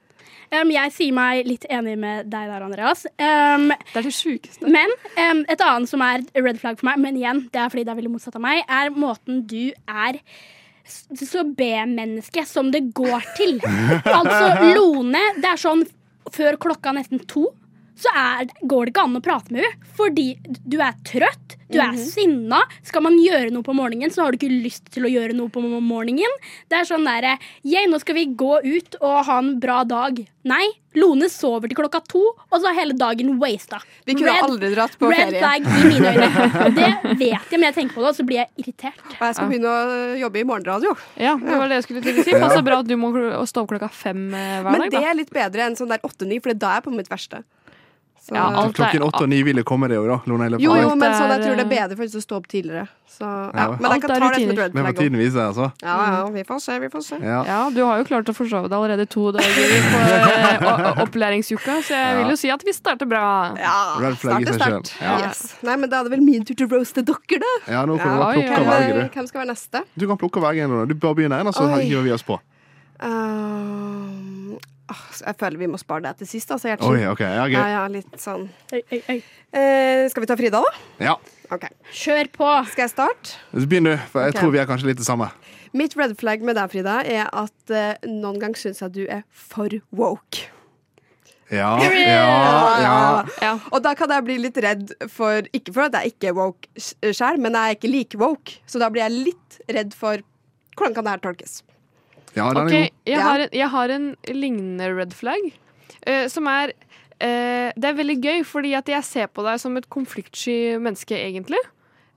Um, jeg sier meg litt enig med deg der, Andreas. Um, Det er det sjukeste. men um, et annet som er red flag for meg, men igjen, det er fordi det er veldig motsatt av meg, er måten du er s- så B-menneske som det går til. altså, Lone, det er sånn før klokka nesten to, så er, går det ikke an å prate med henne. Fordi du er trøtt, du Mhm. er sinna. Skal man gjøre noe på morgenen, så har du ikke lyst til å gjøre noe på mo- morgenen. Det er sånn derre Yeah, nå skal vi gå ut og ha en bra dag. Nei, Lone sover til klokka to, og så er hele dagen wasta. Vi kunne aldri dratt på red ferie. flag i mine øyne. Og det vet jeg, men jeg tenker på det, og så blir jeg irritert. Og jeg skal begynne å jobbe i morgenradio. Ja, det var det jeg skulle til å si. Passer bra at du må kl- stå opp klokka fem eh, hver Men dag. det Da. er litt bedre enn sånn der åtte-ni, for da er jeg på mitt verste. Så, Ja, alt Klokken er- åtte og ni vil jo komme, det òg, da. Lone, i løpet jo, av jo, dagen. men alt sånn, jeg er, tror det er bedre for å stå opp tidligere. Så, ja. Ja. Men jeg Alt kan er ta det Mm. som et rutiner. red Men flag. for tiden viser, altså. Ja, ja, vi får se, vi får se. Ja. Ja, du har jo klart å forsove deg allerede to dager på eh, o- o- opplæringsuka, så jeg vil jo si at vi starter bra. Ja, Red flag i snart er seg snart. selv. Ja. Yes. Nei, men da er det vel min tur til å roaste dere, da. ja, nå kan du Ja, bare plukke ja. og velge, Hvem, du. hvem skal være neste? Du kan plukke og velge en, Lone. Du bare begynner en, og så Oi. hiver vi oss på. Um, ah, jeg føler vi må spare det til sist, altså, Gjertsen. Oi, ok, ja, Ja, gøy. ja, litt sånn. Øy, øy, øy. Eh, skal vi ta Frida, da? Ja. Ok, Kjør på. Skal jeg starte? Så begynn, du. For jeg Ok. tror vi er kanskje litt det samme. Mitt red flag med deg, Frida, er at eh, noen ganger syns jeg du er for woke. Ja, ja, ja. Ja. Og da kan jeg bli litt redd for Ikke for at jeg ikke er woke sjøl, men jeg er ikke like woke. Så da blir jeg litt redd for hvordan kan det her tolkes. Ja, den er Ok, god. jeg Ja. har, en, jeg har en lignende red flag, eh, som er eh, Det er veldig gøy, fordi at jeg ser på deg som et konfliktsky menneske, egentlig.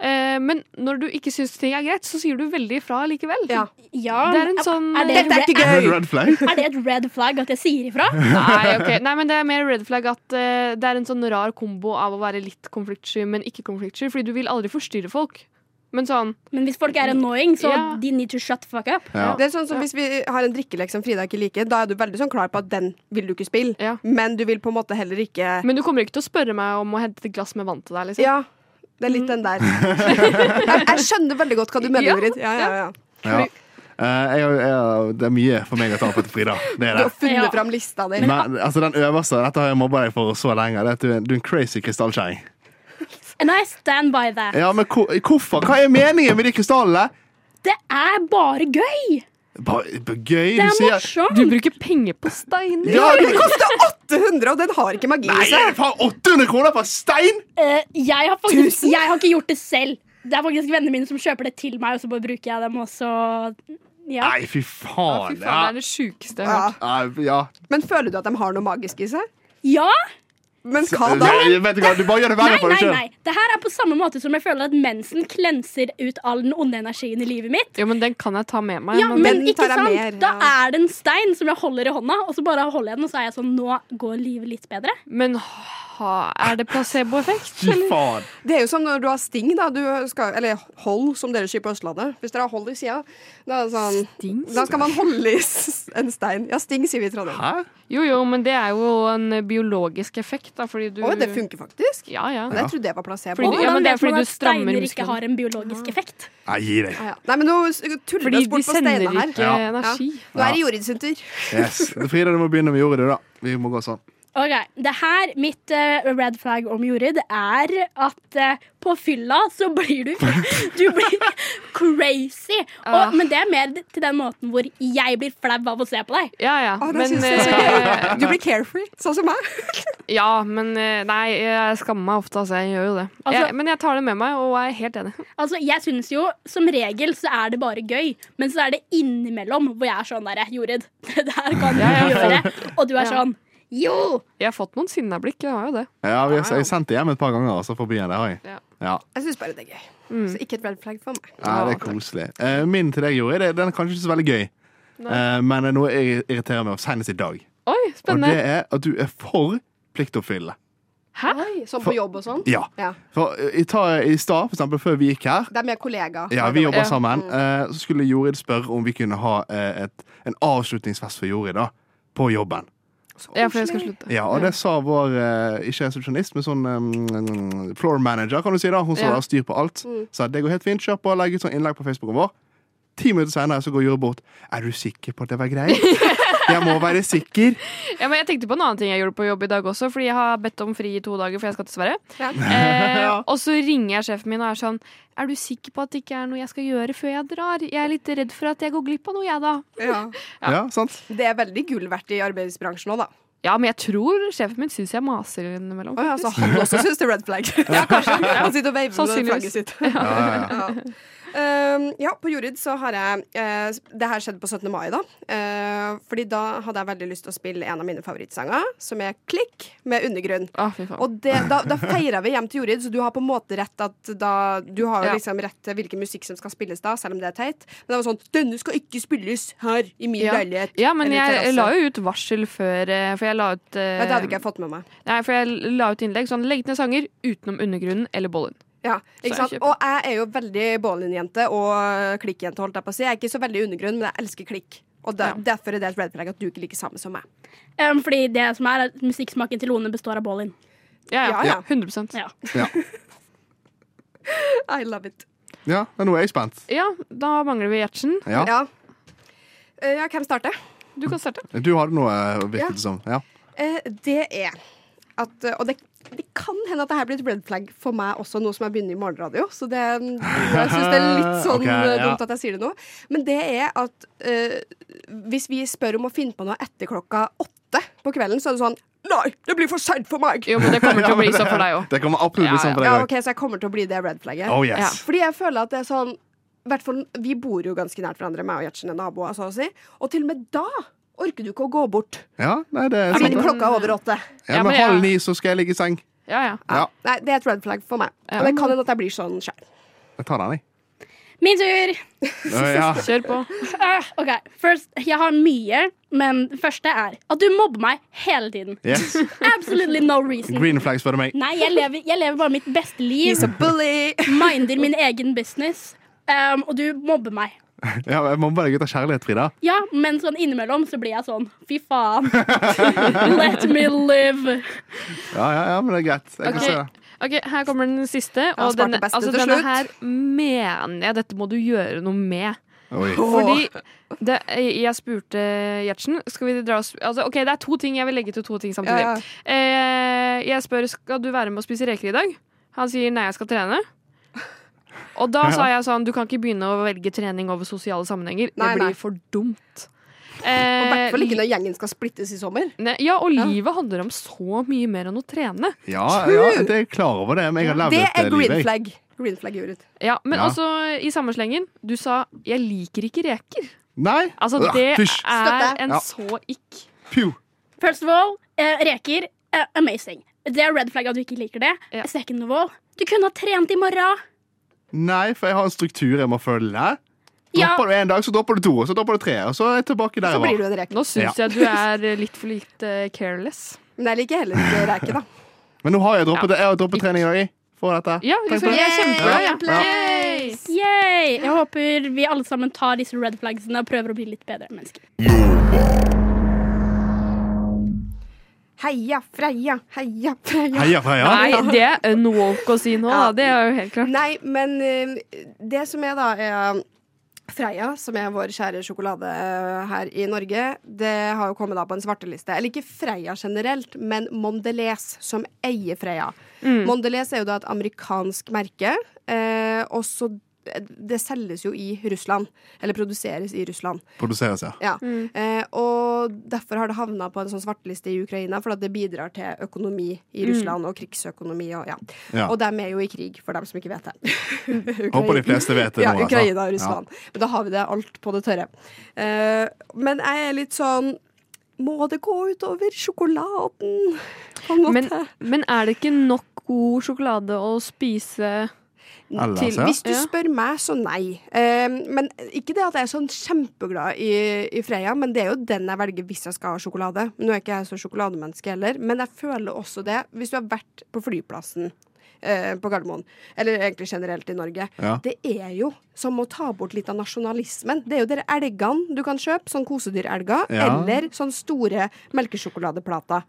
Eh, men når du ikke syns ting er greit, så sier du veldig ifra likevel. Ja. Ja, Det er en sånn- er, det Dette er re- ikke Er det gøy! Red flag? er det et red flag at jeg sier ifra? Nei, ok. Nei, men det er mer red flag at eh, det er en sånn rar kombo av å være litt konfliktsky, men ikke konfliktsky, fordi du vil aldri forstyrre folk. Men sånn Men hvis folk er annoying, så Ja. de need to shut the fuck up. Ja. Det er sånn som Hvis vi har en drikkelek som Frida ikke liker, da er du veldig sånn klar på at den vil du ikke spille, Ja. Mm. men du vil på en måte heller ikke Men du kommer ikke til å spørre meg om å hente et glass med vann til deg, liksom. Ja, det er litt den der. Jeg, jeg skjønner veldig godt hva du mener, Ja, Jorid. Ja, ja, ja. Ja. Eh, jeg, jeg, det er mye for meg å ta på til Frida. Det er det. Du har funnet Ja. fram lista di. Men altså, den øverste, dette har jeg mobba deg for så lenge, det er at du er, du er en crazy krystallkjerring. And I stand by that. Ja, men hvor, hvorfor? Hva er meningen med de krystallene? Det er bare gøy! Bare, bare Det gøy, du er sier Du morsomt! bruker penger på steiner. Ja, Det du, koster 800, og den har ikke magi Nei, i er det seg. faen 800 kroner for stein?! Eh, jeg, har faktisk, jeg har ikke gjort det selv. Det er faktisk vennene mine som kjøper det til meg, og så bare bruker jeg dem også. Ja. Nei, fy Ja, Fy faen. faen, det Ja. er det sjukeste jeg har hørt. Ja. Nei, ja. Men føler du at de har noe magisk i seg? ja? Men hva da? Nei, vet du hva, du bare gjør det Nei, verre for nei, deg nei. sjøl. Det her er på samme måte som jeg føler at mensen klenser ut all den onde energien i livet mitt. Jo, men den kan jeg ta med meg. Ja, men- men den ikke tar jeg sant? mer, Da ja. er det en stein som jeg holder i hånda, og så bare holder jeg den, og så er jeg sånn Nå går livet litt bedre. Men ha, er det placeboeffekt? Fy eller? faen. Det er jo som når du har sting, da. Du skal, eller hold, som dere sier på Østlandet. Hvis dere har hold i sida, da, er det sånn, Sting? da skal man holde i s- en stein. Ja, sting, sier vi i Trondheim. Hæ? Jo, jo, men det er jo en biologisk effekt, da, fordi du Å, det funker faktisk. Ja, ja. Men jeg trodde det var placebo. Fordi- Og ja, Å, men Hvordan det er vet fordi man du at strammer steiner musklene. ikke har en biologisk effekt? Nei, gi deg. ja, ja. Nei, men nå s- tuller vi Fordi oss de bort på sender steinene her. ikke Ja. energi. Nå er det Jorid sin tur. Yes. Frida, du må begynne med jordet, du, da. Vi må gå sånn. Ok, det her, Mitt eh, red flag om Jorid er at eh, på fylla så blir du Du blir crazy. Og, men det er mer til den måten hvor jeg blir flau av å se på deg. Ja, ja. Å, det Men, synes jeg er så eh, gøy. Du blir carefree, sånn som meg. ja, men eh, Nei, jeg skammer meg ofte, altså. Jeg gjør jo det. Altså- jeg, men jeg tar det med meg, og er helt enig. Altså, Jeg syns jo som regel så er det bare gøy, men så er eh, det innimellom hvor jeg er sånn derre Jorid, det der kan du Ja, ja. gjøre. Og du er Ja. sånn Jo! Jeg har fått noen sinnablikk. Det var jo det. Ja, vi har, jeg har sendt det hjem et par ganger, altså, forbi det har jeg. Ja. Ja. Jeg syns bare det er gøy. Mm. Så ikke et red flag for meg. Ja, det er koselig. Eh, min til deg, Jori, det- den er kanskje ikke så veldig gøy. Eh, men det er noe jeg irriterer meg over senest i dag. Oi, Og det spennende. er at du er for pliktoppfyllende. Hæ? Sånn på jobb og sånn. Ja. Ja. For eh, i, ta, i stad, for eksempel, før vi gikk her Det er med kollegaer. Ja, vi jobber Ja. sammen. eh, så skulle Jorid spørre om vi kunne ha eh, et, en avslutningsfest for Jorid da, på jobben. Ja, for jeg skal slutte. Ja, Og det sa vår eh, ikke resepsjonist, men sånn eh, floor manager, kan du si. da Hun som Ja. Mm. har styr på alt. Sa det går helt fint, kjør på, legg ut sånn innlegg på Facebooken vår. Ti minutter senere så går Jorid bort. Er du sikker på at det var greit? Jeg må være sikker. Ja, men jeg tenkte på en annen ting jeg gjorde på jobb i dag også, fordi jeg har bedt om fri i to dager, for jeg skal til Sverige. Ja. Eh, og så ringer jeg sjefen min og er sånn Er du sikker på at det ikke er noe jeg skal gjøre før jeg drar? Jeg er litt redd for at jeg går glipp av noe, jeg, da. Ja. Ja, sant? Det er veldig gull verdt i arbeidsbransjen òg, da. Ja, men jeg tror sjefen min syns jeg maser innimellom. Å ja, så faktisk. han også syns det er red flag. ja, kanskje. Han sitter og veiver med Sannsynligvis. flagget sitt. Ja, ja, ja. Ja. Um, ja, på Jorid så har jeg eh, Det her skjedde på 17. mai, da. Eh, fordi da hadde jeg veldig lyst til å spille en av mine favorittsanger, som er 'Klikk' med Undergrunn. Å, Ah, fy faen. Og det, da, da feira vi hjem til Jorid, så du har på en måte rett at da, Du har jo Ja. liksom rett til hvilken musikk som skal spilles da, selv om det er teit. Men det var sånn 'Denne skal ikke spilles her i min Ja. leilighet'. Ja, men eller jeg terrasse. la jo ut varsel før eh, For jeg la ut eh, ja, Det hadde ikke jeg fått med meg. Nei, for jeg la ut innlegg sånn Legg ned sanger utenom Undergrunnen eller Bollen. Ja, ikke jeg sant? kjøper. Og jeg er jo veldig Bålin-jente og klikkjente, holdt jeg på å si. Jeg er ikke så veldig undergrunn, men jeg elsker klikk. Og der, derfor er det et red flag at du ikke liker samme som meg. Um, fordi det som er, er at musikksmaken til Lone består av Bolin. Ja, Ja, ja. ja. 100 Ja. ja. I love it. ja men nå er jeg spent. Ja, da mangler vi Gjertsen. Ja. Ja. Eh, ja, hvem starter? Du kan starte. Du hadde noe, eh, virket det som. Ja. Eh, det er at eh, Og det, det kan hende at det her blir et red flag for meg også, nå som jeg begynner i morgenradio. Så det, jeg syns det er litt sånn Ok, ja. eh, dumt at jeg sier det nå. Men det er at eh, hvis vi spør om å finne på noe etter klokka åtte på kvelden, så er det sånn Nei, det blir for seint for meg! Jo, men det kommer til å bli sånn for deg òg. Det kommer absolutt bli Ja, sånn for deg Ja, òg. ok, Så jeg kommer til å bli det red flagget. Oh Ja. yes. Fordi jeg føler at det er sånn i hvert fall, Vi bor jo ganske nært hverandre, meg og Gjertsen er naboer. Så å si. Og til og med da orker du ikke å gå bort. Ja, nei, det er sant. Siden klokka er over åtte. Ja, Ja, men men jeg- halv ni så skal jeg ligge i seng. Ja, ja. Ja, Nei, Det er et red flag for meg. Og det kan hende at jeg blir sånn sjøl. jeg tar den, jeg. Min tur! Ja. Kjør på. Ah, OK, først Jeg har mye, men det første er at du mobber meg hele tiden. Yes. Absolutely no reason. Green flag, spør du meg. Nei, jeg lever, jeg lever bare mitt beste liv. He's a bully! Minder min egen business. Um, og du mobber meg. Ja, jeg må bare ut av kjærlighet, Frida. Ja, men sånn innimellom så blir jeg sånn Fy faen. Let me live. Ja, ja, ja, men det er greit. Jeg kan Ok. se det. Ok, Her kommer den siste. har Og spart det denne, beste altså, Altså- til denne slutt. her mener jeg dette må du gjøre noe med. Oi. Fordi det, jeg spurte Gjertsen Skal vi dra oss altså, Ok, det er to ting jeg vil legge til to ting samtidig. Ja, ja. Eh, jeg spør skal du være med å spise reker i dag. Han sier nei, jeg skal trene. Og da sa jeg sånn Du kan ikke begynne å velge trening over sosiale sammenhenger. Nei, det blir nei. for dumt. I hvert fall Eh, ikke når gjengen skal splittes i sommer. ne- ja, og livet handler om så mye mer enn å trene. Ja, ja, det er jeg klar over det, men jeg har levd Det et er eh, liv, green jeg. flag. Green flag Jorid. Ja, Men Ja. også i samme slengen. Du sa 'jeg liker ikke reker'. Nei. Altså, Ah, det Fysj. er en Ja. så ikk. Pju. First of all, eh, reker. eh, amazing. Det er red flag at du ikke liker det. Ja. Second of all, du kunne ha trent i morgen. Nei, for jeg har en struktur jeg må følge. Ja. Dropper du én dag, så dropper du to, og så dropper du tre, og så er jeg tilbake der Så jeg blir var. du en reke. Nå syns jeg du er eh, litt for litt eh, careless. Men jeg liker heller ikke reke, da. Men nå har jeg droppet, jeg har droppet trening i dag, jeg. Får dette. Ja, Takk så for jeg det. er kjempebra. Ja. Ja. Yay! Yay! Jeg håper vi alle sammen tar disse red flagsene og prøver å bli litt bedre mennesker. Heia Freia, heia Freia. Heia, Freia. Nei, det er en walk å si nå, da. Ja. Det er jo helt klart. Nei, men eh, det som er da er Freia, som er vår kjære sjokolade eh, her i Norge, det har jo kommet da på en svarteliste. Eller ikke Freia generelt, men Mondelez, som eier Freia. Mondelez er jo da et amerikansk merke, eh, og så det selges jo i Russland. Eller produseres i Russland. Produseres, ja. Ja. Eh, og derfor har det havna på en sånn svarteliste i Ukraina, for at det bidrar til økonomi i Russland, og krigsøkonomi og ja. Ja. Og dem er jo i krig, for dem som ikke vet det. Ukraina- Håper de fleste vet det ja, nå, altså. Ukraina og Russland. Men da har vi det alt på det tørre. Eh, men jeg er litt sånn Må det gå utover sjokoladen? På en måte. Men, men er det ikke nok god sjokolade å spise Eller, til, altså, ja. hvis du Ja. spør meg, så nei. Eh, men ikke det at jeg er sånn kjempeglad i, i Freia, men det er jo den jeg velger hvis jeg skal ha sjokolade. Nå er ikke jeg så sjokolademenneske heller, men jeg føler også det hvis du har vært på flyplassen. eh, På Gardermoen, eller egentlig generelt i Norge. Ja. Det er jo som å ta bort litt av nasjonalismen. Det er jo de elgene du kan kjøpe, sånn kosedyrelger, Ja. eller sånne store melkesjokoladeplater.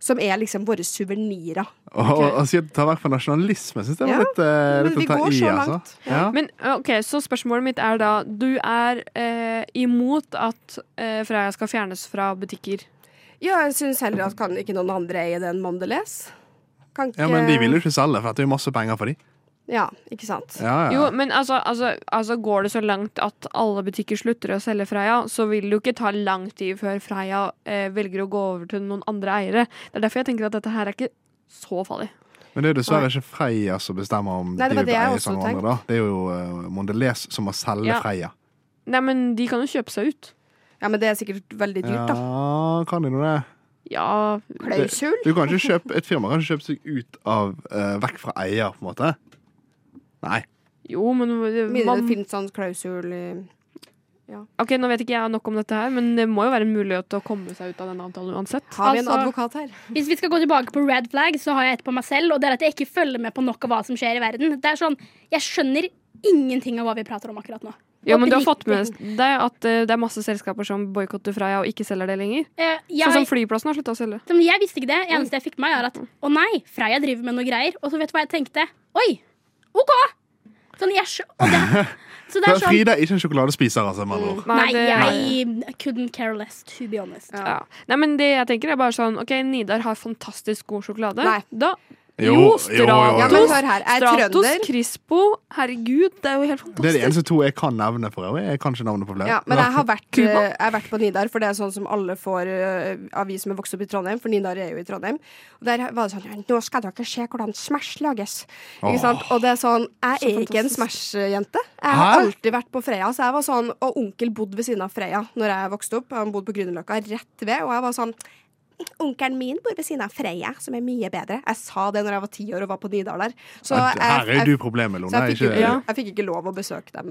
Som er liksom våre suvenirer. Og, og, og si at det har vært for nasjonalisme. Syns jeg var Ja, litt, eh, men litt vi å ta går i, så altså. langt. Ja. Men eh, ok, Så spørsmålet mitt er da Du er eh, imot at eh, Freia skal fjernes fra butikker. Ja, jeg syns heller at kan ikke noen andre eie den Mondelez? Kan ikke ja, men de vil jo ikke selge, for det er jo masse penger for de. Ja, ikke sant. Ja, ja. Jo, men altså, altså, altså Går det så langt at alle butikker slutter å selge Freia, så vil det jo ikke ta lang tid før Freia eh, velger å gå over til noen andre eiere. Det er derfor jeg tenker at dette her er ikke så farlig. Men det er jo dessverre ikke Freia som bestemmer om Nei, det de var vil det jeg eie også sånne hverandre. da. Det er jo eh, Mondelez som må selge Ja. Freia. Nei, men de kan jo kjøpe seg ut. Ja, Men det er sikkert veldig dyrt, da. Ja, kan de nå det? Ja, Klausul? Du kan ikke kjøpe, Et firma kan ikke kjøpe seg ut av eh, vekk fra eier, på en måte. Nei. jo, men Mindre man, det finnes sånn klausul i Ok, Nå vet ikke jeg nok om dette her, men det må jo være en mulighet til å komme seg ut av denne avtalen uansett. Har vi en Altså- advokat her? Hvis vi skal gå tilbake på red flag, så har jeg et på meg selv. Og det er at jeg ikke følger med på nok av hva som skjer i verden. Det er sånn, Jeg skjønner ingenting av hva vi prater om akkurat nå. Ja, men du har fått Oppriktig. med deg at eh, det er masse selskaper som boikotter Freia og ikke selger det lenger? Eh, Sånn som jeg, flyplassen har slutta å selge. som jeg visste ikke det. Eneste jeg fikk med meg, er at å nei, Freia driver med noe greier. Og så vet du hva jeg tenkte? Oi! OK! Sånn, jeg skj- og det, så det For er sånn Frida er ikke en sjokoladespiser, altså, med Mm. andre ord. Nei, det, jeg couldn't care less, to be honest. ja. Nei, men det jeg tenker er bare sånn OK, Nidar har fantastisk god sjokolade. Nei. Da Jo, Jo, jo, jo, jo. Ja, men Stratos. hør her. Jeg er Stratos, trønder. Crispo Herregud, det er jo helt Det er de fantastisk. eneste to jeg kan nevne for øvrig. Jeg kan ikke navnet på flere. Ja, men jeg har, vært, eh, Cuba. jeg har vært på Nidar, for det er sånn som alle får eh, av vi som er vokst opp i Trondheim, for Nidar er jo i Trondheim. Og der var det sånn «Ja, Nå skal dere se hvordan Smash lages. Åh. Ikke sant? Og det er sånn Jeg er ikke en Smash-jente. Jeg har Hæ? alltid vært på Freia. Så jeg var sånn Og onkel bodde ved siden av Freia når jeg vokste opp. Han bodde på Grünerløkka rett ved, og jeg var sånn Onkelen min bor ved siden av Freia, som er mye bedre. Jeg sa det når jeg var ti år og var på Nidar der. Så Ja, Her er jeg, du jeg, problemet, Lone. så jeg, fikk, ikke, ikke, Ja. jeg fikk ikke lov å besøke dem.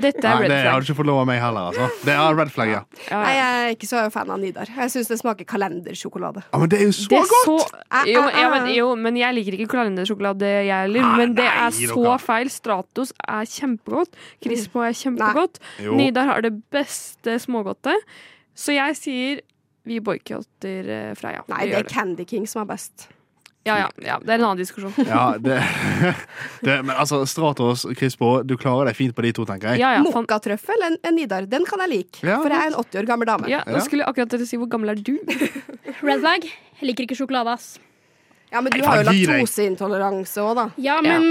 Dette Nei, er red det hadde flag. du ikke fått lov av meg heller. Altså. Det er red flag, ja. Ja, Nei, ja. jeg er ikke så fan av Nidar. Jeg syns det smaker kalendersjokolade. ja men det er jo så Det er godt! så, Ah, jo, ah, ja, men, ah. jo, men jeg liker ikke kalendersjokolade, jeg heller. Ah, Men det nei, er så dere. feil. Stratos er kjempegodt. Crispo er kjempegodt. Jo. Nidar har det beste smågodtet. Så jeg sier vi boikotter eh, Freia. Nei, Vi det gjør er Candy King som er best. Ja, ja, ja, det er en annen diskusjon. Ja, det, det, men altså, Stratos, Crispo, du klarer deg fint på de to, tenker jeg. Ja, ja, fan. Mokkatrøffel en, en Nidar. Den kan jeg like, Ja, for jeg er en 80 år gammel dame. ja, Ja, nå skulle jeg akkurat til å si hvor gammel er du? Red flag. Jeg liker ikke sjokolade, ass. Men du Nei, har jo faen, gi deg. laktoseintoleranse òg, da. Ja, men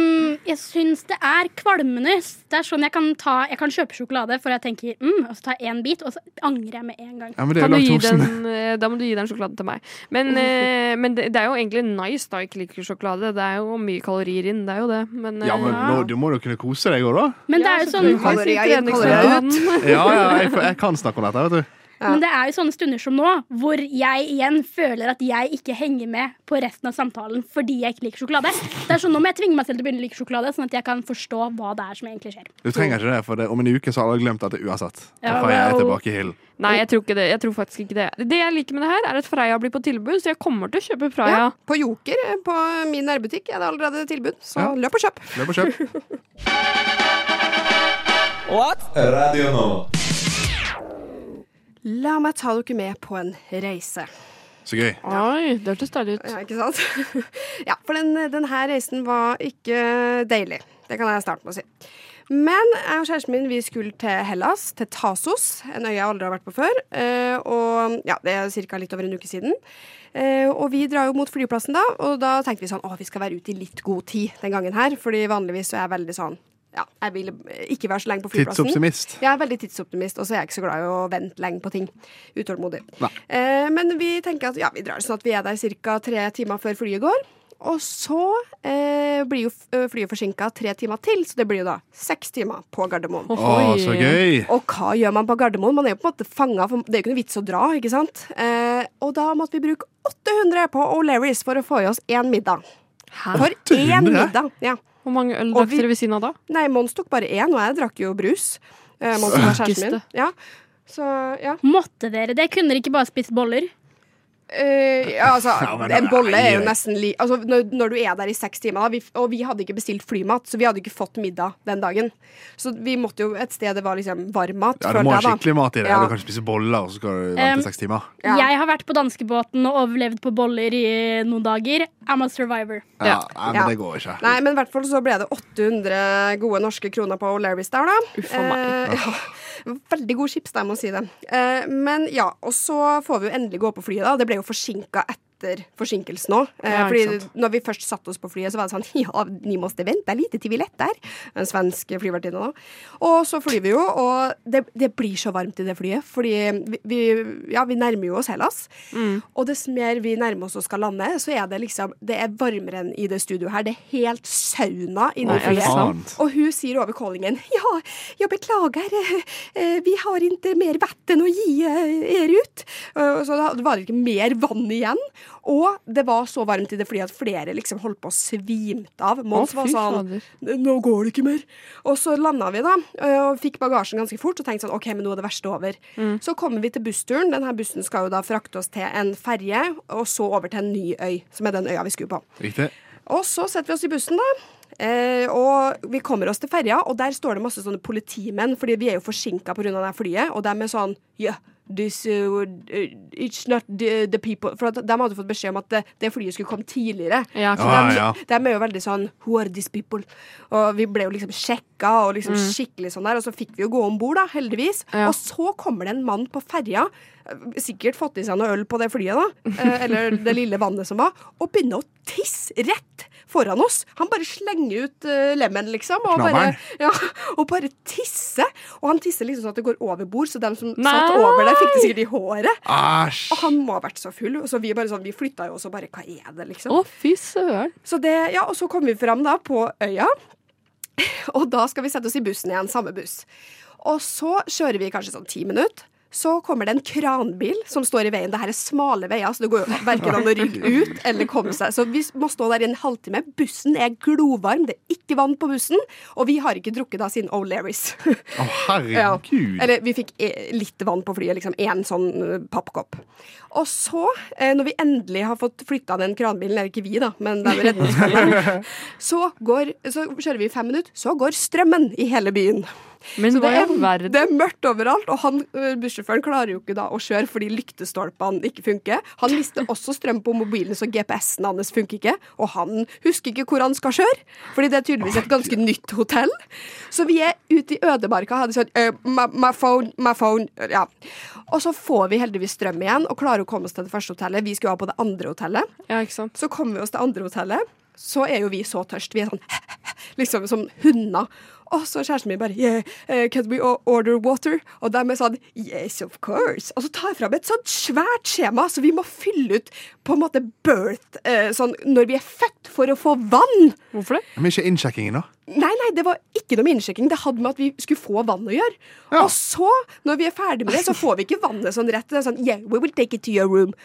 jeg syns det er kvalmende. Det er sånn jeg kan, ta, jeg kan kjøpe sjokolade, for jeg tenker mm, og så tar jeg én bit, og så angrer jeg med en gang. Ja, men det er Kan jo du gi laktosen. den, eh, da må du gi den sjokoladen til meg. Men, eh, men det, det er jo egentlig nice da jeg ikke liker sjokolade. Det er jo mye kalorier inn, det er jo det. Men, eh, Ja, men nå, du må jo kunne kose deg òg, da. Men det er jo sånn selvfølgelig. Kalorier inn, Treningssjokoladen. Ja, ja, jeg, jeg kan snakke om dette, vet du. Men det er jo sånne stunder som nå, hvor jeg igjen føler at jeg ikke henger med på resten av samtalen fordi jeg ikke liker sjokolade. Det er sånn, Nå må jeg tvinge meg selv til å begynne å like sjokolade, sånn at jeg kan forstå hva det er som egentlig skjer. Du trenger ikke det, for det, om en uke så har alle glemt dette uansett. Ja, For jeg er wow. tilbake i hillen. Nei, jeg tror, ikke det. jeg tror faktisk ikke det. Det jeg liker med det her, er at Freia blir på tilbud, så jeg kommer til å kjøpe Freia. Ja, på Joker, eh, på min nærbutikk, er det allerede tilbud, så Ja. løp og kjøp. Løp og kjøp. Radio Nova. La meg ta dere med på en reise. Så gøy. Oi, det hørtes deilig ut. Ja, ikke sant? ja, for den, den her reisen var ikke deilig. Det kan jeg starte med å si. Men jeg og kjæresten min vi skulle til Hellas, til Tasos, en øy jeg aldri har vært på før. eh, Og ja, Det er ca. litt over en uke siden. Eh, Og vi drar jo mot flyplassen da, og da tenkte vi sånn å, vi skal være ute i litt god tid den gangen her. Fordi vanligvis så er jeg veldig sånn ja, jeg vil ikke være så lenge på flyplassen. Tidsoptimist. Jeg er veldig tidsoptimist, og så er jeg ikke så glad i å vente lenge på ting. Utålmodig. Eh, men vi tenker at ja, vi drar sånn at vi er der ca. tre timer før flyet går. Og så eh, blir jo f- ø, flyet forsinka tre timer til, så det blir jo da seks timer på Gardermoen. Å, Å, så gøy! Og hva gjør man på Gardermoen? Man er jo på en måte fanga, for det er jo ikke noe vits å dra, ikke sant? Eh, og da måtte vi bruke 800 på O'Learys for å få i oss én middag. For én 800? middag! Ja. Hvor mange øl Og drakk vi- dere ved siden av da? Nei, Mons tok bare én, og jeg drakk jo brus. Eh, Mons som var kjæresten min. Sterkeste. Ja. Så ja. Måtte dere det? Kunne dere ikke bare spist boller? Eh, ja, altså, Ja, men en nei. bolle er jo nesten li... Altså, når, når du er der i seks timer, da, vi, og vi hadde ikke bestilt flymat, så vi hadde ikke fått middag den dagen. Så vi måtte jo et sted det var liksom varm mat. Ja, Du må følte ha jeg, da. skikkelig mat i det. Ja. Du kan ikke spise boller og så skal du vente Um, seks timer. Ja. Jeg har vært på danskebåten og overlevd på boller i noen dager. I'm a survivor. Ja, ja. Nei, men Ja. det går ikke. Nei, men i hvert fall så ble det 800 gode norske kroner på O'Learys der, da. Uff a Eh, meg. ja. Veldig god chips, da, jeg må si det. Eh, men ja, og så får vi jo endelig gå på flyet, da. Det ble jo forsinka etter forsinkelsen òg. Eh, Ja, ikke fordi sant. når vi først satte oss på flyet, så var det sånn Ja, ni måtte vente, det er lite til vi letter. En svensk flyvertinne, da. Og så flyr vi jo, og det, det blir så varmt i det flyet, fordi vi, vi, ja, vi nærmer jo oss Hellas. Mm. Og dess mer vi nærmer oss og skal lande, så er det liksom Det er varmere enn i det studioet her. Det er helt sauna inni Nei, er det flyet. sant? Og hun sier over callingen Ja, jeg beklager, eh, eh, vi har ikke mer vann å gi eh, er ut. Eh, Så da var det ikke mer vann igjen. Og det var så varmt i det flyet at flere liksom holdt på å svimte av. Mons Å, var fy sånn fader. Nå går det ikke mer. Og så landa vi, da, eh, og fikk bagasjen ganske fort og tenkte sånn OK, men nå er det verste over. Mm. Så kommer vi til bussturen. Denne bussen skal jo da frakte oss til en ferje, og så over til en ny øy, som er den øya vi skulle på. Riktig. Og så setter vi oss i bussen, da. Eh, og vi kommer oss til ferja, og der står det masse sånne politimenn, fordi vi er jo forsinka pga. det her flyet, og de er sånn yeah, this, uh, It's not the, the people For at de hadde fått beskjed om at det, det flyet skulle komme tidligere. Ja, Så ikke Ah, de, ja. de er jo veldig sånn Who are these people? Og vi ble jo liksom sjekka, og liksom skikkelig sånn der. Og så fikk vi jo gå om bord, da, heldigvis. Mm. Ja. Og så kommer det en mann på ferja, sikkert fått i seg noe øl på det flyet, da, eh, eller det lille vannet som var, og begynner å tisse rett foran oss. Han bare slenger ut eh, lemmen, liksom, og bare, Knabberen. ja, og bare tisser. Og han tisser liksom sånn at det går over bord, så dem som Nei! satt over der, fikk det sikkert i håret. Æsj! Og han må ha vært så full, og så vi bare sånn, vi flytta jo også bare, hva er det, liksom? Å, fy søren. Så det, ja, og så kom vi fram da på øya, og da skal vi sette oss i bussen igjen, samme buss. Og så kjører vi kanskje sånn ti minutter. Så kommer det en kranbil som står i veien. Dette er smale veier, så det går jo verken an å rygge ut eller komme seg. Så vi må stå der i en halvtime. Bussen er glovarm, det er ikke vann på bussen, og vi har ikke drukket da siden O'Learys. Å, herregud. Ja. Eller vi fikk eh, litt vann på flyet, liksom én sånn eh, pappkopp. Og så, eh, når vi endelig har fått flytta den kranbilen, eller ikke vi, da, men den redningsbilen, så, går, så kjører vi i fem minutter, så går strømmen i hele byen. Men Så hva det i all er, verden? det er mørkt overalt, og han, ø, bussjåføren klarer jo ikke da å kjøre fordi lyktestolpene ikke funker. Han mister også strøm på mobilen, så GPS-en hans funker ikke. Og han husker ikke hvor han skal kjøre, fordi det er tydeligvis et ganske nytt hotell. Så vi er ute i ødemarka og hadde sånn ø, my, my phone, my phone. Ja. Og så får vi heldigvis strøm igjen og klarer å komme oss til det første hotellet. Vi skulle ha på det andre hotellet. Ja, ikke sant. Så kommer vi oss til andre hotellet, så er jo vi så tørst. Vi er sånn liksom som hunder. Og så kjæresten min bare yeah, eh, Can we o- order water? Og de er sånn Yes, of course. Og så tar jeg fram et sånt svært skjema, så vi må fylle ut på en måte birth eh, sånn når vi er født, for å få vann. Hvorfor det? Men ikke innsjekkingen, da? Nei, nei, det var ikke noe med innsjekking. Det hadde med at vi skulle få vann å gjøre. Ja. Og så, når vi er ferdig med det, så får vi ikke vannet sånn rett. Det er sånn, yeah, we will take it to your room.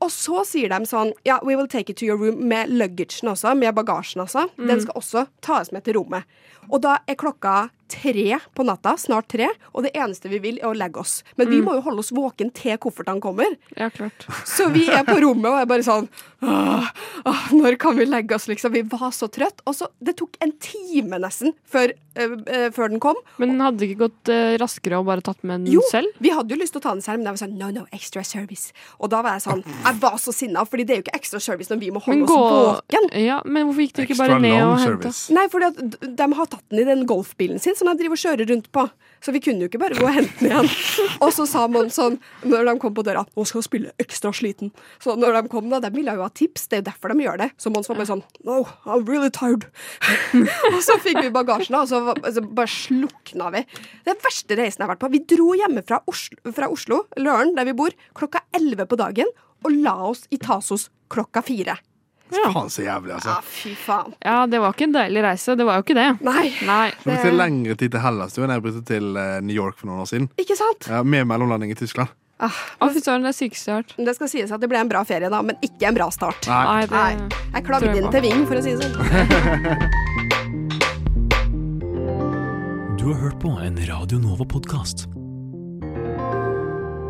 Og så sier de sånn, ja, we will take it to your room med luggagen også, med bagasjen altså. Den skal også tas med til rommet. Og da er klokka tre på natta, snart tre, og det eneste vi vil er å legge oss. Men vi må jo holde oss våken til koffertene kommer. Ja, klart. Så vi er på rommet og er bare sånn åh, åh, Når kan vi legge oss, liksom? Vi var så trøtt. Og så, det tok en time nesten før, øh, øh, før den kom. Men hadde det ikke gått eh, raskere å bare tatt med den Jo, selv? vi hadde jo lyst til å ta den selv, men jeg var sånn No, no, extra service. Og da var jeg sånn Jeg var så sinna, Fordi det er jo ikke extra service når vi må Men holde oss våken. Ja, men hvorfor gikk dere ikke bare ned og henta? Nei, fordi at d- de har tatt den i den golfbilen sin som de driver og kjører rundt på. Så vi kunne jo ikke bare gå og hente den igjen. Og så sa man sånn, når de kom på døra, nå skal jeg spille ekstra sliten. Så når de kom da, de ville jo ha tips, det er jo derfor de gjør det. Så Mons var bare sånn, no, I'm really tired. og så fikk vi bagasjen da, og så var- altså, bare slukna vi. Den verste reisen jeg har vært på, vi dro hjemme fra Oslo, fra Oslo Løren, der vi bor, klokka 11 på dagen, og la oss i Tasos klokka 4. Faen så jævlig, altså. Ja, fy faen. Ja, det var ikke en deilig reise. Det var jo ikke det. Nei, Nei. Jeg brukte lengre tid til Hellas du, enn jeg brukte til eh, New York for noen år siden. ikke sant? Ja, med mellomlanding i Tyskland. Å, fy søren, det er sykeste jeg har hørt. Men Det skal sies at det ble en bra ferie, da, men ikke en bra start. Nei. Nei, Nei. det Jeg tror klagde jeg inn på. til Ving, for å si det sånn. Du har hørt på en Radio Nova-podkast.